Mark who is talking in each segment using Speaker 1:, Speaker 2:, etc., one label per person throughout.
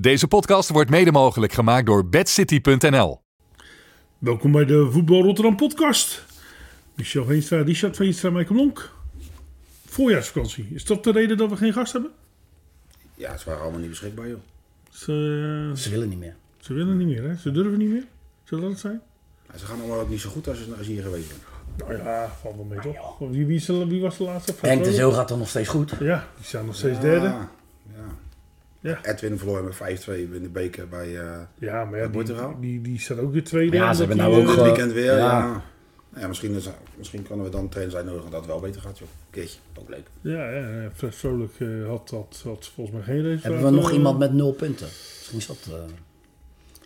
Speaker 1: Deze podcast wordt mede mogelijk gemaakt door bedcity.nl.
Speaker 2: Welkom bij de Voetbal Rotterdam podcast. Michel Veenstra, Richard Veenstra, Michael Lonk. Voorjaarsvakantie. Is dat de reden dat we geen gast hebben?
Speaker 3: Ja, ze waren allemaal niet beschikbaar, joh.
Speaker 2: Ze, eh,
Speaker 3: Ze willen niet meer.
Speaker 2: ze willen niet meer, hè? Ze durven niet meer. Zullen dat het zijn?
Speaker 3: Ja, ze gaan allemaal ook niet zo goed als ze als je hier geweest bent.
Speaker 2: Nou ja, valt wel mee, toch? Wie, wie, is de- wie was de laatste? Van
Speaker 4: Ah, Henk de
Speaker 2: Vrolijk?
Speaker 4: Zeeuw gaat dan nog steeds goed.
Speaker 2: Ja, die staan nog steeds derde.
Speaker 3: Ja, ja.
Speaker 2: Ja.
Speaker 3: Edwin verloor met 5-2 in de beker bij eh
Speaker 2: Ja, maar ja,
Speaker 3: Wat wordt er
Speaker 2: die,
Speaker 3: aan?
Speaker 2: die, die staat ook weer tweede.
Speaker 4: Ja,
Speaker 2: omdat
Speaker 4: ze hebben
Speaker 2: die,
Speaker 4: nou ook
Speaker 2: eh,
Speaker 3: dit
Speaker 4: Ge-
Speaker 3: weekend weer. Ja.
Speaker 4: ja.
Speaker 3: Ja, misschien, is, misschien kunnen we dan een trainer zijn nodig dat het wel beter gaat, joh. Keertje, ook leuk.
Speaker 2: Ja, ja, Fred Vrolijk eh, had, had, had volgens mij geen eh, race.
Speaker 4: Hebben we nog iemand met nul punten? Misschien is dat... eh,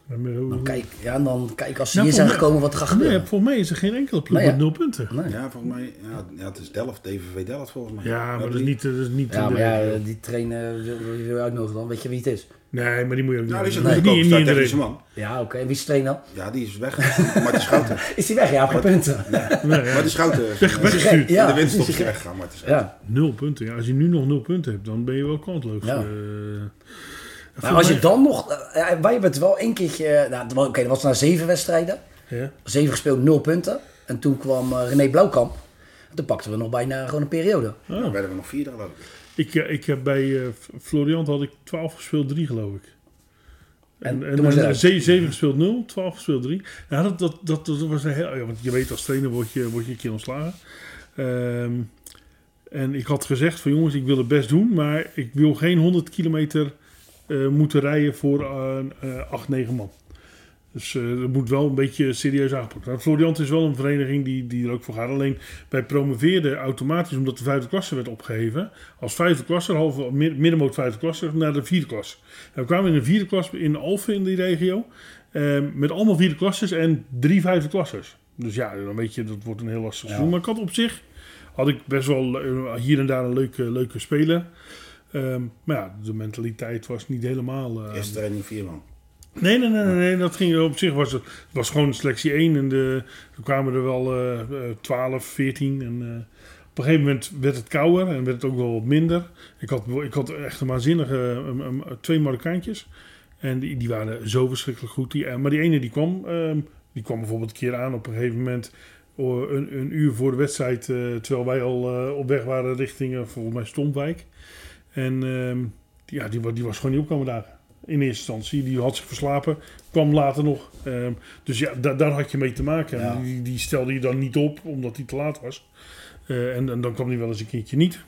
Speaker 4: dan
Speaker 2: kijk,
Speaker 4: kijk, ja, en dan kijk als ze
Speaker 2: Nou,
Speaker 4: hier
Speaker 2: volgens Nou,
Speaker 4: zijn
Speaker 2: mij-
Speaker 4: gekomen wat er gaat
Speaker 2: nee,
Speaker 4: gebeuren.
Speaker 2: volgens mij is er geen enkele ploeg
Speaker 4: Nee, ja.
Speaker 2: met nul punten.
Speaker 4: Nee.
Speaker 3: Ja, volgens mij, ja, ja, het is Delft, DVV Delft volgens mij.
Speaker 2: Ja, maar
Speaker 3: dat
Speaker 2: dat is niet... Dat is niet
Speaker 4: Ja,
Speaker 2: de-
Speaker 4: maar ja, eh, die trainer wil, wil je weer uitnodigen dan. Weet je wie het is?
Speaker 2: Nee, maar die moet je ook
Speaker 3: Nou, die
Speaker 2: niet
Speaker 3: is een
Speaker 2: doen.
Speaker 3: nee,
Speaker 2: Niet- niet iedereen.
Speaker 3: technische man.
Speaker 4: Ja, oké. En wie is de trainer?
Speaker 3: Ja, die is weg. Marten Schouten.
Speaker 4: Is die weg? Ja, geen punten.
Speaker 2: Nee, ja.
Speaker 3: Marten Schouten. is, eh,
Speaker 2: Weggestuurd.
Speaker 4: Gek, ja.
Speaker 3: in de winst is weggegaan, Marten Schouten.
Speaker 4: Ja.
Speaker 2: Nul punten. Ja, als je nu nog nul punten hebt, dan ben je wel kansloos.
Speaker 4: Ja.
Speaker 2: Eh,
Speaker 4: Maar Nou, als je dan nog... eh, ja, wij hebben het wel één keertje... eh, Nou, het was- oké, dat was na zeven wedstrijden.
Speaker 2: ja.
Speaker 4: Zeven gespeeld, nul punten. En toen kwam eh, René Blauwkamp. Toen pakten we nog bijna gewoon een periode.
Speaker 3: Dan werden we nog vierde geloof ik.
Speaker 2: ik, eh, ik heb bij eh, Florian had ik 12 gespeeld, 3 geloof ik. En, en,
Speaker 4: toen was
Speaker 2: en,
Speaker 4: hij-
Speaker 2: 7 gespeeld 0, 12 gespeeld 3. Ja, dat, dat, dat, dat was een heel... Ja, want je weet, als trainer word je, word je een keer ontslagen. Ehm, en ik had gezegd van jongens, ik wil het best doen, maar ik wil geen 100 kilometer eh, moeten rijden voor eh, eh, 8, 9 man. Dus eh dat moet wel een beetje serieus aangepakt worden. Floriant is wel een vereniging die, die er ook voor gaat. Alleen wij promoveerden automatisch, omdat de vijfde klasse werd opgeheven, als vijfde klasse, halve mid- middenmoot vijfde klasse, naar de vierde klasse. En we kwamen in de vierde klasse in Alphen in die regio, eh, met allemaal vierde klasses en drie vijfde klassers. Dus ja, dan weet je, dat wordt een heel lastig seizoen. Maar ik had op zich, had ik best wel eh, hier en daar een leuke, leuke speler. Ehm, maar ja, de mentaliteit was niet helemaal... eh,
Speaker 3: Eerste training vier man.
Speaker 2: Nee, nee, nee, nee, nee, dat ging op zich. Was, het het was gewoon selectie 1 en de, er kwamen er wel eh, eh, 12, 14. En, eh, op een gegeven moment werd het kouder en werd het ook wel wat minder. Ik had, ik had echt een waanzinnige ehm, ehm, twee Marokkaantjes. En die, die waren zo verschrikkelijk goed. Die, eh, maar die ene die kwam, ehm, die kwam bijvoorbeeld een keer aan op een gegeven moment. oh, Een, een uur voor de wedstrijd, eh, terwijl wij al eh, op weg waren richting eh, volgens mij Stompwijk. En ehm, die, ja, die, wa- die was gewoon niet opkomen dagen. In eerste instantie. Die had zich verslapen. Kwam later nog. Ehm, dus ja, da- daar had je mee te maken. En
Speaker 4: Ja.
Speaker 2: Die, die stelde je dan niet op, omdat hij te laat was. Eh, en, en dan kwam hij wel eens een keertje niet.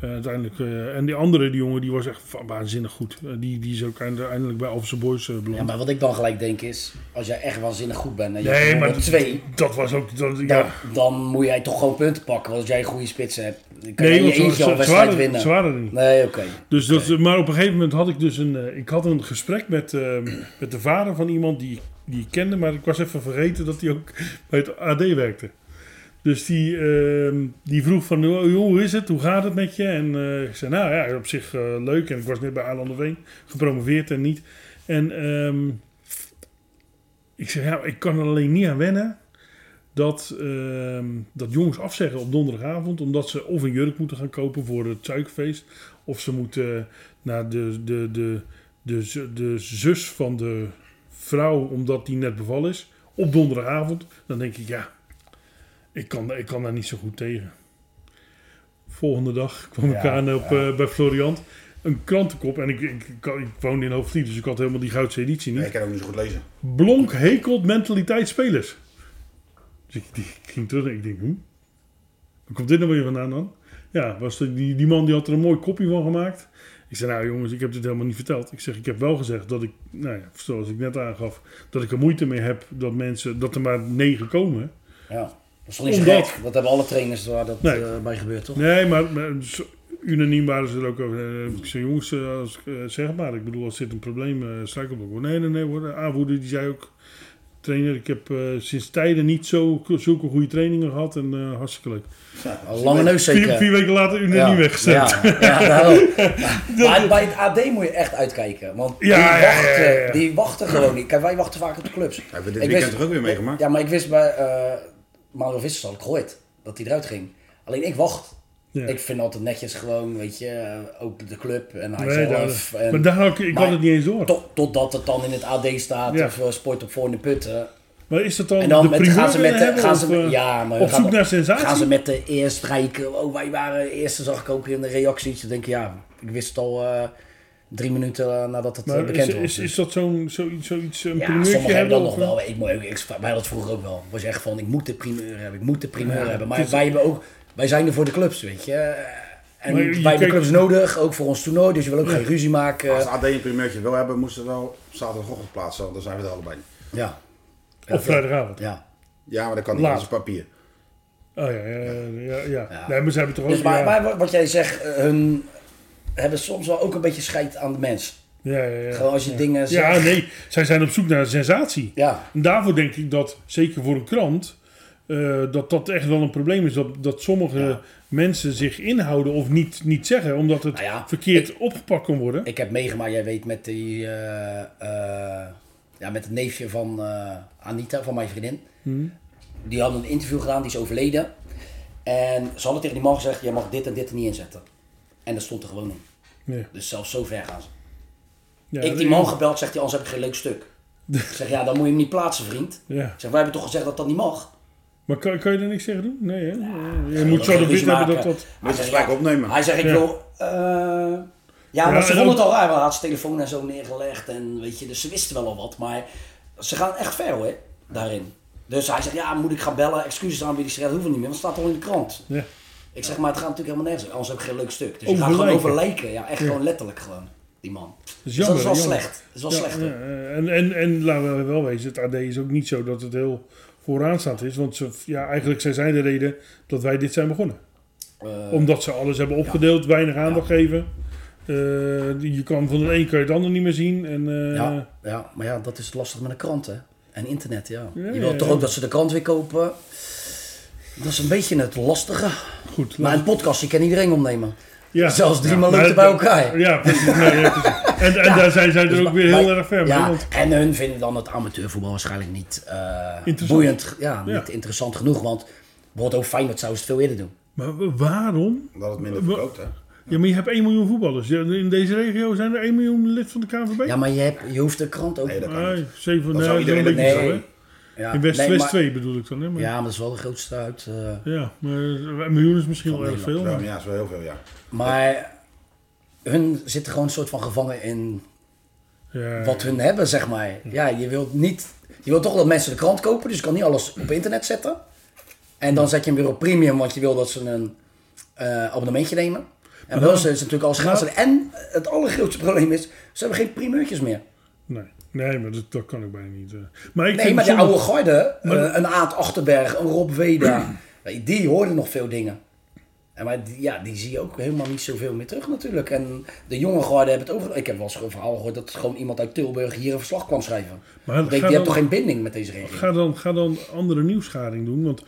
Speaker 2: Eh, uiteindelijk, eh, en die andere die jongen, die was echt wa- waanzinnig goed. Eh, die, die is ook eind- uiteindelijk bij Alphense Boys eh, beland.
Speaker 4: Ja, maar wat ik dan gelijk denk is... Als jij echt waanzinnig goed bent en je
Speaker 2: nee, maar
Speaker 4: hebt twee... Nou,
Speaker 2: dat was ook... Dat, ja.
Speaker 4: Dan, dan moet jij toch gewoon punten pakken. Want als jij een goede spitsen hebt, dan kan
Speaker 2: Nee,
Speaker 4: je
Speaker 2: want
Speaker 4: je
Speaker 2: ze,
Speaker 4: eh, eentje al een
Speaker 2: ze, ze,
Speaker 4: wedstrijd
Speaker 2: waren,
Speaker 4: winnen.
Speaker 2: ze waren er niet.
Speaker 4: Nee, oké.
Speaker 2: Dus dat, Maar op een gegeven moment had ik dus een. eh, ik had een gesprek met, eh, met de vader van iemand die, die ik kende, maar ik was even vergeten dat hij ook bij het AD werkte. Dus die, ehm, die vroeg van, "Hoe- hoe is het? Hoe gaat het met je? En eh, ik zei, nou ja, op zich eh, leuk. En ik was net bij Aarlanderveen gepromoveerd en niet. En ehm, ik zeg, ja, ik kan er alleen niet aan wennen dat, ehm, dat jongens afzeggen op donderdagavond. Omdat ze of een jurk moeten gaan kopen voor het suikerfeest. Of ze moeten naar de, de, de, de, zu- de zus van de vrouw, omdat die net bevallen is. Op donderdagavond. Dan denk ik, ja, ik kan, ik kan daar niet zo goed tegen. Volgende dag kwam ik
Speaker 4: Ja,
Speaker 2: aan op, eh, bij Floriant. Een krantenkop. En ik, ik, ik, ik woonde in Hoofdvliet, dus ik had helemaal die goudse editie niet.
Speaker 3: Nee, ik kan ook niet zo goed lezen.
Speaker 2: Blonk hekelt mentaliteit spelers. Dus ik, die, ik ging terug en ik denk, hoe? Waar komt dit nou weer vandaan dan? Ja, was de, die, die man die had er een mooi kopje van gemaakt. Ik zei, nou jongens, ik heb dit helemaal niet verteld. Ik zeg, ik heb wel gezegd dat ik, nou ja, zoals ik net aangaf, dat ik er moeite mee heb dat mensen, dat er maar negen komen.
Speaker 4: Ja. Dat is toch niet zo
Speaker 2: Omdat-
Speaker 4: gek? Dat hebben alle trainers waar dat
Speaker 2: Nee.
Speaker 4: eh, bij gebeurt, toch?
Speaker 2: Nee, maar, maar zo- unaniem waren ze er ook over. Eh, Ik zei, jongens, eh, als, eh, zeg maar. Ik bedoel, als dit een probleem eh struikel ik wel. Nee, nee, nee hoor. Aanvoerder, die zei ook... Trainer, ik heb eh, sinds tijden niet zo, zulke goede trainingen gehad. En eh, hartstikke leuk.
Speaker 4: Een lange neus
Speaker 2: Vier,
Speaker 4: zeker.
Speaker 2: vier weken later unaniem
Speaker 4: ja.
Speaker 2: weggezet.
Speaker 4: Ja, ja, daarom. Maar bij het AD moet je echt uitkijken. Want die,
Speaker 2: Ja, ja, ja,
Speaker 4: wachten,
Speaker 2: ja, ja.
Speaker 4: die wachten gewoon niet. Kijk, wij wachten vaak op de clubs.
Speaker 3: Hebben we dit
Speaker 4: Ik
Speaker 3: weekend
Speaker 4: wist-
Speaker 3: toch ook weer meegemaakt?
Speaker 4: Ja, maar ik wist bij eh Manuel Vissers had ik gehoord dat hij eruit ging. Alleen ik wacht.
Speaker 2: Ja.
Speaker 4: Ik vind altijd netjes gewoon, weet je, eh, ook de club en hij
Speaker 2: Nee, daar-
Speaker 4: zelf. en
Speaker 2: maar daar had ik, ik
Speaker 4: maar-
Speaker 2: had het niet eens door.
Speaker 4: tot, totdat het dan in het AD staat
Speaker 2: Ja.
Speaker 4: of eh, sport op voor in de putten.
Speaker 2: Maar is dat dan,
Speaker 4: En dan
Speaker 2: de
Speaker 4: met,
Speaker 2: primeur
Speaker 4: gaan ze met
Speaker 2: willen
Speaker 4: de,
Speaker 2: hebben
Speaker 4: gaan
Speaker 2: of,
Speaker 4: ze,
Speaker 2: eh,
Speaker 4: ja, maar
Speaker 2: op
Speaker 4: gaan-
Speaker 2: zoek naar sensatie?
Speaker 4: Gaan ze met de eerst strijken. Oh, wij waren eerste, zag ik ook in de reacties. Dan denk ik, ja, ik wist het al eh, drie minuten eh, nadat het eh,
Speaker 2: maar is,
Speaker 4: bekend was.
Speaker 2: is, is dat zo'n zoiets, zoiets een
Speaker 4: ja,
Speaker 2: primeurtje
Speaker 4: sommigen hebben
Speaker 2: hebben?
Speaker 4: dan nog
Speaker 2: of- eh,
Speaker 4: wel. Ik, moet ook- ik, wij hadden het vroeger ook wel. Was echt van, ik moet de primeur hebben, ik moet de primeur
Speaker 2: Ja,
Speaker 4: hebben. Maar
Speaker 2: het is-
Speaker 4: wij, hebben ook, wij zijn er voor de clubs, weet je. Eh, En
Speaker 2: Maar je
Speaker 4: wij hebben
Speaker 2: kijkt-
Speaker 4: clubs nodig, ook voor ons toernooi. Dus je wil ook geen ruzie maken.
Speaker 2: Eh,
Speaker 3: Als de AD een primeurtje wil hebben, moesten we wel zaterdagochtend plaatsen. want Dan zijn we er allebei.
Speaker 4: ja,
Speaker 2: Of vrijdagavond.
Speaker 4: ja.
Speaker 3: Ja, maar dat kan niet.
Speaker 2: Laat.
Speaker 3: Dat is papier.
Speaker 2: Oh ja, ja, ja. ja.
Speaker 4: Ja.
Speaker 2: Nee, maar ze hebben toch ook...
Speaker 4: Dus maar,
Speaker 2: ja.
Speaker 4: maar wat jij zegt, eh, hun hebben soms wel ook een beetje scheid aan de mens.
Speaker 2: ja, ja, ja.
Speaker 4: Gewoon als je dingen zegt.
Speaker 2: Ja, nee, zij zijn op zoek naar een sensatie.
Speaker 4: Ja,
Speaker 2: En daarvoor denk ik dat, zeker voor een krant, eh, dat dat echt wel een probleem is. Dat, dat sommige
Speaker 4: Ja.
Speaker 2: mensen zich inhouden of niet, niet zeggen, omdat het
Speaker 4: Nou ja,
Speaker 2: verkeerd opgepakt kan worden.
Speaker 4: ik heb meegemaakt, jij weet, met, die, eh, eh, ja, met het neefje van eh, Anita, van mijn vriendin.
Speaker 2: Hmm.
Speaker 4: Die hadden een interview gedaan, die is overleden. En ze hadden tegen die man gezegd, jij mag dit en dit er niet inzetten. En dat stond er gewoon in.
Speaker 2: Ja.
Speaker 4: Dus zelfs zo ver gaan ze.
Speaker 2: Ja,
Speaker 4: ik die man gebeld, zegt hij, anders heb ik geen leuk stuk. Ik zeg, ja, dan moet je hem niet plaatsen, vriend.
Speaker 2: Ja.
Speaker 4: Ik zeg, wij hebben toch gezegd dat dat niet mag?
Speaker 2: Maar kan, kan je er niks tegen doen? Nee, hè? Je moet
Speaker 4: Geen
Speaker 2: zo de wit
Speaker 4: ruzie
Speaker 2: hebben dat
Speaker 4: maken.
Speaker 2: dat...
Speaker 4: Hij
Speaker 3: Moet je
Speaker 4: zegt,
Speaker 3: gelijk
Speaker 4: ja,
Speaker 3: opnemen.
Speaker 4: Hij zegt, ik
Speaker 2: Ja.
Speaker 4: wil... eh, ja, maar
Speaker 2: Ja,
Speaker 4: ze
Speaker 2: en
Speaker 4: vonden
Speaker 2: ook-
Speaker 4: het al raar. want Hij had zijn telefoon en zo neergelegd. En weet je, dus ze wisten wel al wat. Maar ze gaan echt ver hoor, daarin. Dus hij zegt, ja, moet ik gaan bellen, excuses aanbieden. Ik zeg, ja, dat hoeft niet meer, want het staat al in de krant.
Speaker 2: Ja.
Speaker 4: Ik zeg, maar het gaat natuurlijk helemaal nergens over. Anders heb ik geen leuk stuk. Dus ik ga
Speaker 2: Over
Speaker 4: gewoon
Speaker 2: lijken.
Speaker 4: over lijken. Ja, echt gewoon letterlijk gewoon, die man.
Speaker 2: is
Speaker 4: Dus dat is wel
Speaker 2: jammer, jammer.
Speaker 4: slecht. Dat is wel
Speaker 2: Ja,
Speaker 4: slecht. hoor.
Speaker 2: ja, eh, en, en, en laten we wel wezen, het AD is ook niet zo dat het heel vooraan staat is. Want ze, ja, eigenlijk zijn zij de reden dat wij dit zijn begonnen.
Speaker 4: Eh,
Speaker 2: Omdat ze alles hebben opgedeeld, weinig aandacht geven. Eh, je kan van de een kan je het ander niet meer zien. En, eh,
Speaker 4: Ja, ja, maar ja, dat is lastig met de krant, hè? En internet, ja.
Speaker 2: Ja,
Speaker 4: je wilt
Speaker 2: ja,
Speaker 4: toch
Speaker 2: ja.
Speaker 4: ook dat ze de krant weer kopen? Dat is een beetje het lastige.
Speaker 2: Goed.
Speaker 4: Maar
Speaker 2: laat-
Speaker 4: een podcast, je kan iedereen opnemen.
Speaker 2: ja.
Speaker 4: Zelfs drie
Speaker 2: Ja,
Speaker 4: maloten
Speaker 2: maar-
Speaker 4: bij elkaar. Dus
Speaker 2: Ja, precies. Nee, ja, precies. En, en daar zijn zij er ook weer heel
Speaker 4: Maar-
Speaker 2: erg ver mee.
Speaker 4: ja,
Speaker 2: want-
Speaker 4: En hun vinden dan het amateurvoetbal waarschijnlijk niet eh,
Speaker 2: Interessant.
Speaker 4: boeiend. Ja, niet
Speaker 2: Ja.
Speaker 4: interessant genoeg. Want bijvoorbeeld ook Feyenoord zou het veel eerder doen.
Speaker 2: maar wa- waarom?
Speaker 3: Omdat het minder
Speaker 2: Wa-
Speaker 3: verkoopt, hè?
Speaker 2: Ja, maar je hebt 1 miljoen voetballers. Ja, In deze regio zijn er 1 miljoen lid van de KNVB.
Speaker 4: Ja, maar je, hebt, je hoeft de krant ook...
Speaker 3: Nee, dat kan
Speaker 2: Ah,
Speaker 3: niet.
Speaker 2: zeven,
Speaker 3: Dan zou
Speaker 2: nou,
Speaker 3: iedereen
Speaker 2: dat
Speaker 3: dat
Speaker 2: weet ik
Speaker 3: doen,
Speaker 2: niet
Speaker 4: hè?
Speaker 2: zo,
Speaker 4: Ja,
Speaker 2: hè? In West,
Speaker 4: nee,
Speaker 2: West
Speaker 4: maar-
Speaker 2: 2 bedoel ik dan, hè? Maar,
Speaker 4: Ja, maar dat is wel de grootste uit. eh,
Speaker 2: ja, maar een miljoen is misschien wel erg veel.
Speaker 3: Ja,
Speaker 2: maar-
Speaker 3: ja, is wel heel veel, ja.
Speaker 4: maar hun zitten gewoon een soort van gevangen in
Speaker 2: Ja.
Speaker 4: wat hun hebben, zeg maar. Ja, je wilt niet... Je wilt toch dat mensen de krant kopen, dus je kan niet alles op internet zetten. En dan zet je hem weer op premium, want je wil dat ze een eh, abonnementje nemen. En wel is het natuurlijk alles gratis. En het allergrootste probleem is, ze hebben geen primeurtjes meer.
Speaker 2: Nee. nee, maar dat, dat kan ik bijna niet. eh. Maar ik
Speaker 4: Nee,
Speaker 2: vind
Speaker 4: maar de
Speaker 2: sommige-
Speaker 4: oude garde, eh, een Aad Achterberg, een Rob Weda, weet je, die hoorden nog veel dingen. En maar die, ja, die zie je ook helemaal niet zoveel meer terug natuurlijk. En de jonge garde hebben het over... Ik heb wel eens een verhaal gehoord dat gewoon iemand uit Tilburg hier een verslag kwam schrijven.
Speaker 2: Maar
Speaker 4: Ik denk,
Speaker 2: ga
Speaker 4: je hebt
Speaker 2: dan-
Speaker 4: toch geen binding met deze regio?
Speaker 2: Ga dan, ga dan andere nieuwsgaring doen. Want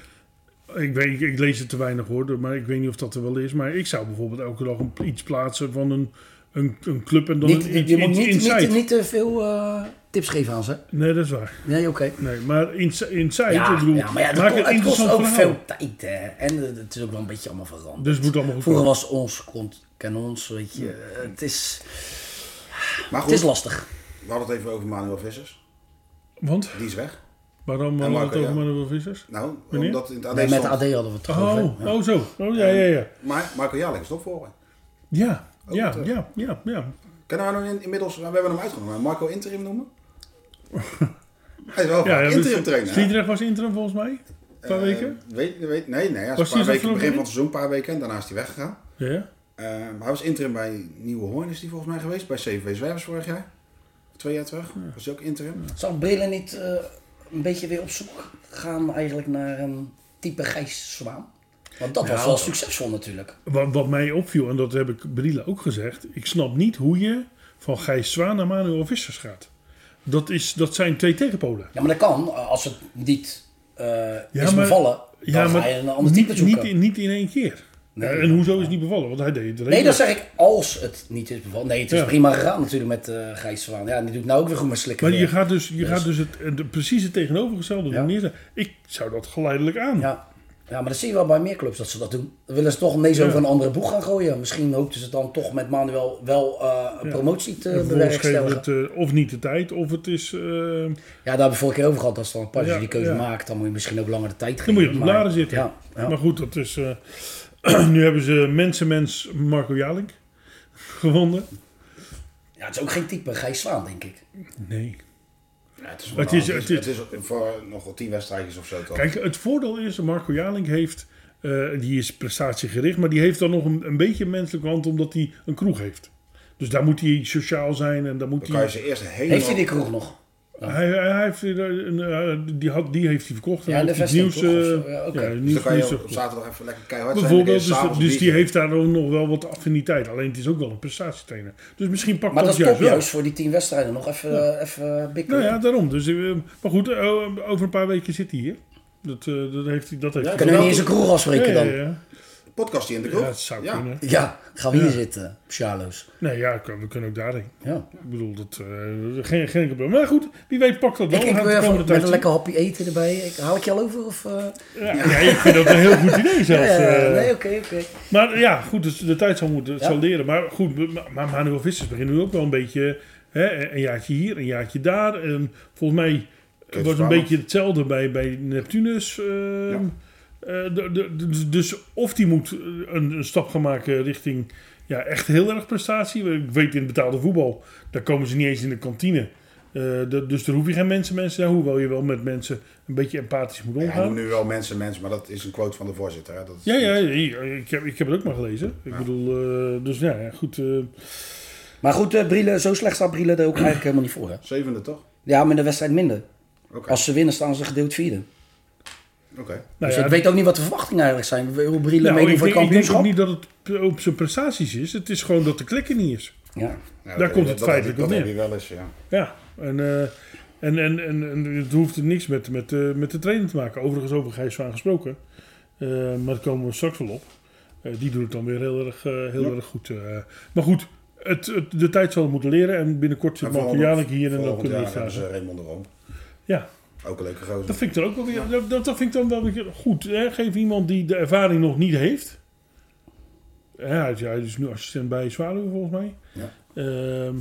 Speaker 2: ik, weet, ik, ik lees het te weinig hoor, maar ik weet niet of dat er wel is. Maar ik zou bijvoorbeeld elke dag een- iets plaatsen van een, een, een club en dan
Speaker 4: Niet,
Speaker 2: een
Speaker 4: je
Speaker 2: iets-
Speaker 4: moet
Speaker 2: iets
Speaker 4: niet,
Speaker 2: inside.
Speaker 4: niet, niet te veel eh, tips geven aan ze.
Speaker 2: Nee, dat is waar.
Speaker 4: Nee, oké.
Speaker 2: Nee, maar ins- inside,
Speaker 4: Ja,
Speaker 2: ik bedoel,
Speaker 4: ja, maar ja,
Speaker 2: maak het
Speaker 4: het, ko- het kost
Speaker 2: interessant
Speaker 4: ook
Speaker 2: verhaal.
Speaker 4: veel tijd. Hè. En eh, het is ook wel een beetje allemaal veranderd.
Speaker 2: Dus het moet allemaal goed
Speaker 4: Vroeger
Speaker 2: komen.
Speaker 4: was ons kont, ken ons, weet je. eh, Het is,
Speaker 3: Maar
Speaker 4: het is
Speaker 3: goed,
Speaker 4: lastig.
Speaker 3: we hadden het even over Manuel Vissers.
Speaker 2: Want,
Speaker 3: Die is weg.
Speaker 2: waarom hadden we het
Speaker 3: Marco,
Speaker 2: over
Speaker 3: ja.
Speaker 2: Manuel Vissers?
Speaker 3: Nou,
Speaker 2: Wanneer?
Speaker 3: omdat in het AD
Speaker 4: Nee, met
Speaker 3: stond.
Speaker 4: AD hadden we het toch over.
Speaker 2: Oh, oh zo. Oh ja, ja, ja.
Speaker 3: Maar Marco Jaarlijk is opvolger.
Speaker 2: Ja, ja,
Speaker 3: goed, hè.
Speaker 2: ja, ja, ja.
Speaker 3: Kunnen we nou in- inmiddels, we hebben hem uitgenomen, Marco interim noemen? Hij is wel
Speaker 2: ja, ja, dus-
Speaker 3: interim trainer. hè?
Speaker 2: Sliedrecht was interim volgens mij. Een paar
Speaker 3: Eh,
Speaker 2: weken.
Speaker 3: Weet, weet, nee, nee. Hij
Speaker 2: Was
Speaker 3: is een paar
Speaker 2: hij
Speaker 3: weken,
Speaker 2: zo vroeg
Speaker 3: begin van het seizoen, een paar weken. En daarna is hij weggegaan.
Speaker 2: Ja.
Speaker 3: Eh, maar hij was interim bij Nieuwe Hoorn is hij volgens mij geweest. Bij CV Zwervers vorig jaar. Of Twee jaar terug. Was hij ook interim.
Speaker 4: Zou Belen niet eh, een beetje weer op zoek gaan eigenlijk naar een type Gijs Zwaan? Want dat was wel succesvol natuurlijk.
Speaker 2: Wat, wat mij opviel, en dat heb ik Brille ook gezegd. Ik snap niet hoe je van Gijs Zwaan naar Manuel Vissers gaat. Dat, is, dat zijn twee tegenpolen.
Speaker 4: Ja, maar dat kan. eh, Als het niet eh,
Speaker 2: maar-
Speaker 4: is bevallen, dan ga je een ander type
Speaker 2: niet,
Speaker 4: zoeken.
Speaker 2: niet, in- niet in één keer.
Speaker 4: Nee.
Speaker 2: Ja, en hoezo is het niet bevallen? Want hij deed het
Speaker 4: Nee,
Speaker 2: redelijk.
Speaker 4: dat zeg ik als het niet is bevallen. Nee, het is
Speaker 2: Ja.
Speaker 4: prima gegaan natuurlijk met eh Gijs Zwaan. Ja, die doet nou ook weer goed met slikken.
Speaker 2: Maar je
Speaker 4: weer.
Speaker 2: gaat dus, je gaat dus het, eh, de, precies het tegenovergestelde doen.
Speaker 4: Ja.
Speaker 2: Neer- Ik zou dat geleidelijk aan.
Speaker 4: Ja. Ja, maar dat zie je wel bij meer clubs dat ze dat doen. Dan willen ze toch ineens
Speaker 2: Ja.
Speaker 4: over een andere boeg gaan gooien. Misschien hoopten ze dan toch met Manuel wel eh, een
Speaker 2: Ja.
Speaker 4: promotie te
Speaker 2: En vervolgens geven we
Speaker 4: bewerkstelligen.
Speaker 2: het eh, of niet de tijd, of het is... eh,
Speaker 4: Ja, daar hebben we vorige keer over gehad. Als dan een partner
Speaker 2: Ja,
Speaker 4: die keuze
Speaker 2: ja.
Speaker 4: maakt, dan moet je misschien ook langer de tijd
Speaker 2: dan
Speaker 4: geven.
Speaker 2: moet je op de
Speaker 4: maar-
Speaker 2: blaren zitten.
Speaker 4: Ja, ja.
Speaker 2: Maar goed, dat is... eh, nu hebben ze mensenmens Marco Jalink gewonnen.
Speaker 4: ja, het is ook geen type Gijs Zwaan, denk ik.
Speaker 2: Nee.
Speaker 3: het is,
Speaker 2: Het is- het is-
Speaker 3: het is voor nog wel tien wedstrijdjes of zo toch?
Speaker 2: Kijk, het voordeel is, Marco Jalink heeft... eh, die is prestatiegericht, maar die heeft dan nog een, een beetje menselijke hand... omdat hij een kroeg heeft. Dus daar moet hij sociaal zijn en daar moet
Speaker 3: Dan kan je
Speaker 2: hij...
Speaker 3: ze eerst helemaal...
Speaker 4: Heeft hij die kroeg nog?
Speaker 2: Hij, hij heeft, eh, een, eh, die, had, die heeft hij verkocht. en
Speaker 4: Ja,
Speaker 2: heeft
Speaker 4: de
Speaker 2: hij het
Speaker 4: vesting
Speaker 2: nieuws,
Speaker 4: toch, of
Speaker 2: eh,
Speaker 4: zo? Ja, oké.
Speaker 2: het
Speaker 3: Dus
Speaker 2: nieuws,
Speaker 3: dan kan
Speaker 2: nieuws
Speaker 3: je op
Speaker 2: verkocht.
Speaker 3: zaterdag even lekker keihard zijn.
Speaker 2: Bijvoorbeeld,
Speaker 3: en dan
Speaker 2: dus,
Speaker 3: eerst
Speaker 2: dus die
Speaker 3: s'avonds
Speaker 2: heeft daar ook nog wel wat affiniteit. Alleen het is ook wel een prestatietrainer. Dus misschien pakt
Speaker 4: Maar dat
Speaker 2: dat
Speaker 4: is top
Speaker 2: juist wel.
Speaker 4: juist voor die tien wedstrijden. Nog even, eh, even eh, bikkelen.
Speaker 2: Nou ja, daarom. Dus, eh, maar goed, eh, over een paar weken zit hij hier. Dat, eh, dat heeft hij. Dat heeft
Speaker 3: Ja,
Speaker 2: hij
Speaker 4: Kunnen we
Speaker 3: wel
Speaker 4: niet eens een kroeg afspreken
Speaker 2: ja,
Speaker 4: dan?
Speaker 2: ja,
Speaker 4: Ja,
Speaker 2: ja.
Speaker 3: bier. Podcast hier in de
Speaker 2: Ja,
Speaker 3: kroeg.
Speaker 2: dat zou kunnen.
Speaker 4: gaan we hier
Speaker 2: Ja.
Speaker 4: zitten, Sjaloos.
Speaker 2: Nee, ja, kan- we kunnen ook daarheen.
Speaker 4: Ja.
Speaker 2: Ik bedoel, dat, eh, geen, geen probleem. Maar goed, wie weet pakt dat wel.
Speaker 4: Ik, ik
Speaker 2: We gaan
Speaker 4: wil
Speaker 2: het de
Speaker 4: even
Speaker 2: komende
Speaker 4: met een
Speaker 2: tijd
Speaker 4: lekker hapje eten erbij. Ik, haal ik je al over? Of, eh?
Speaker 2: zien. Ja, ja, ik vind dat een heel goed idee
Speaker 4: Ja,
Speaker 2: zelfs. eh.
Speaker 4: nee, oké, oké.
Speaker 2: Maar ja, goed, dus de tijd zal, moeten, het
Speaker 4: Ja.
Speaker 2: zal leren. Maar goed, maar- maar Manuel Vissers begint nu ook wel een beetje... Hè, een jaartje hier, een jaartje daar. En volgens mij
Speaker 3: Kees
Speaker 2: was een
Speaker 3: Vermaak.
Speaker 2: beetje hetzelfde bij, bij Neptunus. ehm,
Speaker 3: Ja.
Speaker 2: eh, de- de- de- dus of die moet eh, een, een stap gaan maken richting ja, echt heel erg prestatie. Ik weet in betaalde voetbal, daar komen ze niet eens in de kantine. Eh, de- dus daar hoef je geen mensen, mensen. Ja, hoewel je wel met mensen een beetje empathisch moet
Speaker 3: Ja, hij noemt
Speaker 2: omgaan.
Speaker 3: nu wel mensen, mensen, maar dat is een quote van de voorzitter. Hè? Dat is
Speaker 2: Ja, ja, ja, ik heb, ik heb het ook maar gelezen. Ik
Speaker 3: Ah.
Speaker 2: bedoel, eh, dus ja, ja, goed. eh,
Speaker 3: Dus
Speaker 4: Maar goed, eh, Brielle, zo slecht staat Brielle er ook eigenlijk helemaal niet voor. Hè?
Speaker 3: Zevende toch?
Speaker 4: Ja, met een wedstrijd minder.
Speaker 3: Oké.
Speaker 4: Als ze winnen, staan ze gedeeld vierde.
Speaker 3: Oké.
Speaker 2: nou
Speaker 4: dus
Speaker 2: ja,
Speaker 4: ik weet ook niet wat de verwachtingen eigenlijk zijn. Hoe Brielle
Speaker 2: nou,
Speaker 4: meedoen
Speaker 2: ik,
Speaker 4: voor het
Speaker 2: denk, ik denk ook
Speaker 4: kampioenschap.
Speaker 2: niet dat het op zijn prestaties is. Het is gewoon dat de klikken niet is.
Speaker 4: Ja.
Speaker 3: Ja,
Speaker 2: Daar
Speaker 3: dat-
Speaker 2: komt het
Speaker 3: dat-
Speaker 2: feitelijk
Speaker 3: dat,
Speaker 2: op
Speaker 3: dat
Speaker 2: neer.
Speaker 3: heb je wel eens, ja.
Speaker 2: Ja, en, eh, en, en, en, en het hoeft niks met, met, eh, met de trainer te maken. Overigens over Gijs van gesproken. Eh, maar daar komen we straks wel op. Eh, die doet het dan weer heel erg, eh, heel erg goed. eh. maar goed, het, het- de tijd zal het moeten leren. En binnenkort zit
Speaker 3: En
Speaker 2: Marco
Speaker 3: volgend-
Speaker 2: Janink hier en dan
Speaker 3: volgend
Speaker 2: kunnen we
Speaker 3: jaar dus,
Speaker 2: het
Speaker 3: hebben
Speaker 2: vragen.
Speaker 3: ze Raymond de Room.
Speaker 2: Ja,
Speaker 3: Ook een leuke
Speaker 2: dat
Speaker 3: gozer.
Speaker 2: vind ik dan ook wel weer. Dat, dat, dat vind ik dan wel weer goed. Hè? Geef iemand die de ervaring nog niet heeft. Ja, hij is- hij is nu assistent bij Zwaluwe volgens mij.
Speaker 3: Ja.
Speaker 2: Ehm,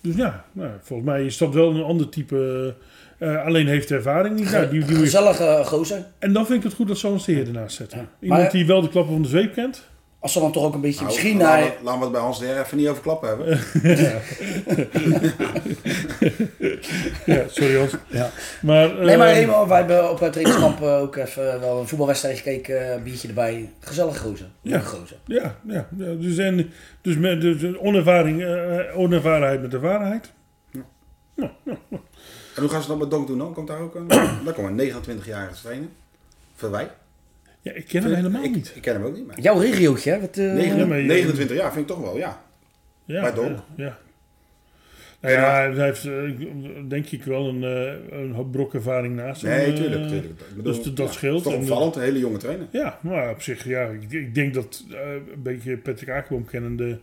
Speaker 2: dus ja, nou, volgens mij is dat wel een ander type. eh, alleen heeft de ervaring niet. Nou, die, die moet je-
Speaker 4: Gezellige eh, gozer.
Speaker 2: En dan vind ik het goed dat zo'n steer ernaast zetten.
Speaker 4: Ja.
Speaker 2: Iemand
Speaker 4: Maar-
Speaker 2: die wel de klappen van de zweep kent.
Speaker 4: Als ze dan toch ook een beetje
Speaker 3: Nou,
Speaker 4: misschien
Speaker 3: laten we-
Speaker 2: eh,
Speaker 4: naar...
Speaker 3: Laten we het bij Hans de Heer even niet over klappen hebben.
Speaker 2: Ja, sorry Hans.
Speaker 4: Ja.
Speaker 2: Maar,
Speaker 4: Nee, maar
Speaker 2: ehm,
Speaker 4: Remo, wij hebben op het trainingskamp eh, ook even wel een voetbalwedstrijd gekeken. eh, Een biertje erbij. Gezellig gozer.
Speaker 2: Ja.
Speaker 4: Leuke gozer.
Speaker 2: Ja, ja, ja. Dus, en, dus, met, dus onervaring, eh, onervarenheid met ervarenheid.
Speaker 3: En hoe gaan ze dat met Donk doen dan? Komt daar ook een... daar komt een 29-jarige trainer. Verwij.
Speaker 2: Ja, ik ken hem helemaal
Speaker 3: ik,
Speaker 2: niet.
Speaker 3: Ik ken hem ook niet, maar...
Speaker 4: Jouw regiootje, hè? Wat, eh,
Speaker 2: Ja, maar je-
Speaker 3: 29 jaar vind ik toch wel, ja.
Speaker 2: Ja,
Speaker 3: Maar Donk?
Speaker 2: Ja. ja. Nou ja, hij heeft eh, denk ik wel een, eh, een hoop brok ervaring naast hem,
Speaker 3: Nee,
Speaker 2: eh,
Speaker 3: tuurlijk. tuurlijk. Ik bedoel,
Speaker 2: dus dat- dat
Speaker 3: ja,
Speaker 2: scheelt.
Speaker 3: is Toch
Speaker 2: En, eh,
Speaker 3: opvallend, een hele jonge trainer.
Speaker 2: Ja, maar op zich, ja, ik, ik denk dat eh, een beetje Patrick Akerboom kennende,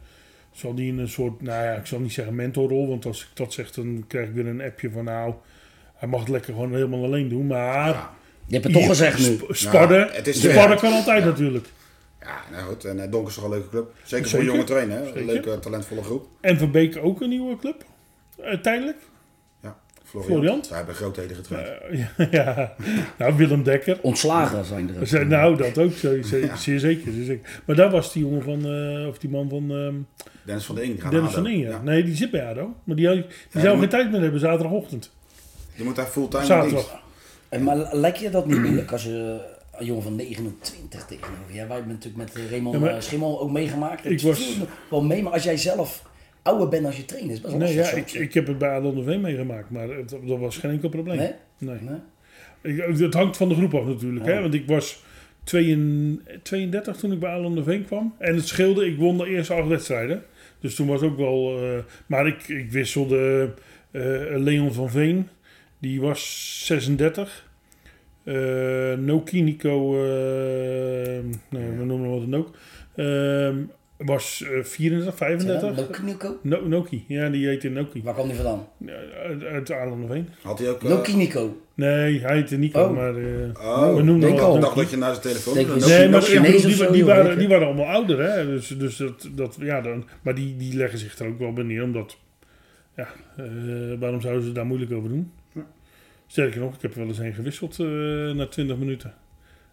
Speaker 2: zal die in een soort, nou ja, ik zal niet zeggen mentorrol, want als ik dat zeg, dan krijg ik weer een appje van nou, hij mag het lekker gewoon helemaal alleen doen, maar...
Speaker 3: Ja.
Speaker 4: Je hebt het toch gezegd nu.
Speaker 2: Sp- Sparren,
Speaker 3: Ja, het is-
Speaker 2: sparren kan altijd natuurlijk.
Speaker 3: Ja, nou goed. En eh, Donk is toch een leuke club. Zeker, voor
Speaker 2: Zeker.
Speaker 3: een jonge trainer. hè.
Speaker 2: Zeker.
Speaker 3: Een leuke, talentvolle groep.
Speaker 2: En Van Beek ook een nieuwe club, Eh, tijdelijk.
Speaker 3: Ja.
Speaker 2: Florian?
Speaker 3: Florian. Daar hebben grootheden getraind.
Speaker 2: Eh, ja, nou, Willem Dekker.
Speaker 4: Ontslagen zijn er. ook.
Speaker 2: Ze- nou, dat ook, zo, ze- zeer zeker. zeer zeker. Maar daar was die jongen van, eh, of die man van ehm,
Speaker 3: Dennis van der Ing. gaat
Speaker 2: Dennis
Speaker 3: naar ADO.
Speaker 2: van Inge.
Speaker 3: Ja.
Speaker 2: Nee, die zit bij ADO. Maar die, die zou
Speaker 3: die
Speaker 2: geen
Speaker 3: moet-
Speaker 2: tijd meer hebben zaterdagochtend.
Speaker 3: Je moet daar fulltime in dienst.
Speaker 2: Zaterdag.
Speaker 4: En maar lijkt je dat niet moeilijk als je eh, een jongen van 29 tegenover je? Wij hebben natuurlijk met Raymond
Speaker 2: Ja, maar-
Speaker 4: eh, Schimmel ook meegemaakt.
Speaker 2: Ik
Speaker 4: Het
Speaker 2: was-
Speaker 4: viel me wel mee, maar als jij zelf ouder bent als je trainer, is best wel
Speaker 2: Nee, ja,
Speaker 4: lastig
Speaker 2: ik,
Speaker 4: soms.
Speaker 2: ik heb het bij ADO nog wel meegemaakt, maar het, dat was geen enkel probleem.
Speaker 4: Nee?
Speaker 2: Nee.
Speaker 4: Nee?
Speaker 2: Ik, het hangt van de groep af natuurlijk. Hè? Want ik was 32, 32 toen ik bij Alon Veen kwam. En het scheelde, ik won de eerste acht wedstrijden. Dus toen was ook wel... eh, maar ik, ik wisselde eh, Leon van Veen. Die was 36. nou, Eh Noki Nico... eh, nee, we noemen hem wat dan ook. Ehm, was eh, 34,
Speaker 4: Zijn dat
Speaker 2: 35.
Speaker 4: Lokinico?
Speaker 2: No, Noki, ja, die heette Noki.
Speaker 4: Waar kwam die vandaan?
Speaker 2: Ja, Uit, uit Aarland of heen.
Speaker 3: Had hij ook... eh,
Speaker 4: Lokinico.
Speaker 2: Nee, hij heette Nico,
Speaker 4: Oh.
Speaker 2: maar eh,
Speaker 3: Oh,
Speaker 2: we noemden
Speaker 4: denk
Speaker 2: hem
Speaker 4: al.
Speaker 3: ik
Speaker 2: altijd Noki.
Speaker 3: dacht dat je naar zijn telefoon...
Speaker 4: Denk
Speaker 3: ging.
Speaker 4: ik-
Speaker 2: Nee, maar
Speaker 4: Nog
Speaker 2: ik bedoel,
Speaker 4: Chinees of
Speaker 2: die,
Speaker 4: zo,
Speaker 2: die,
Speaker 4: joh,
Speaker 2: waren,
Speaker 4: zeker.
Speaker 2: die waren allemaal ouder, hè? Dus, dus dat, dat, ja, dan, maar die, die leggen zich er ook wel bij neer, omdat, ja, eh, waarom zouden ze daar moeilijk over doen? Sterker nog, ik heb er wel eens heen gewisseld eh, na 20 minuten.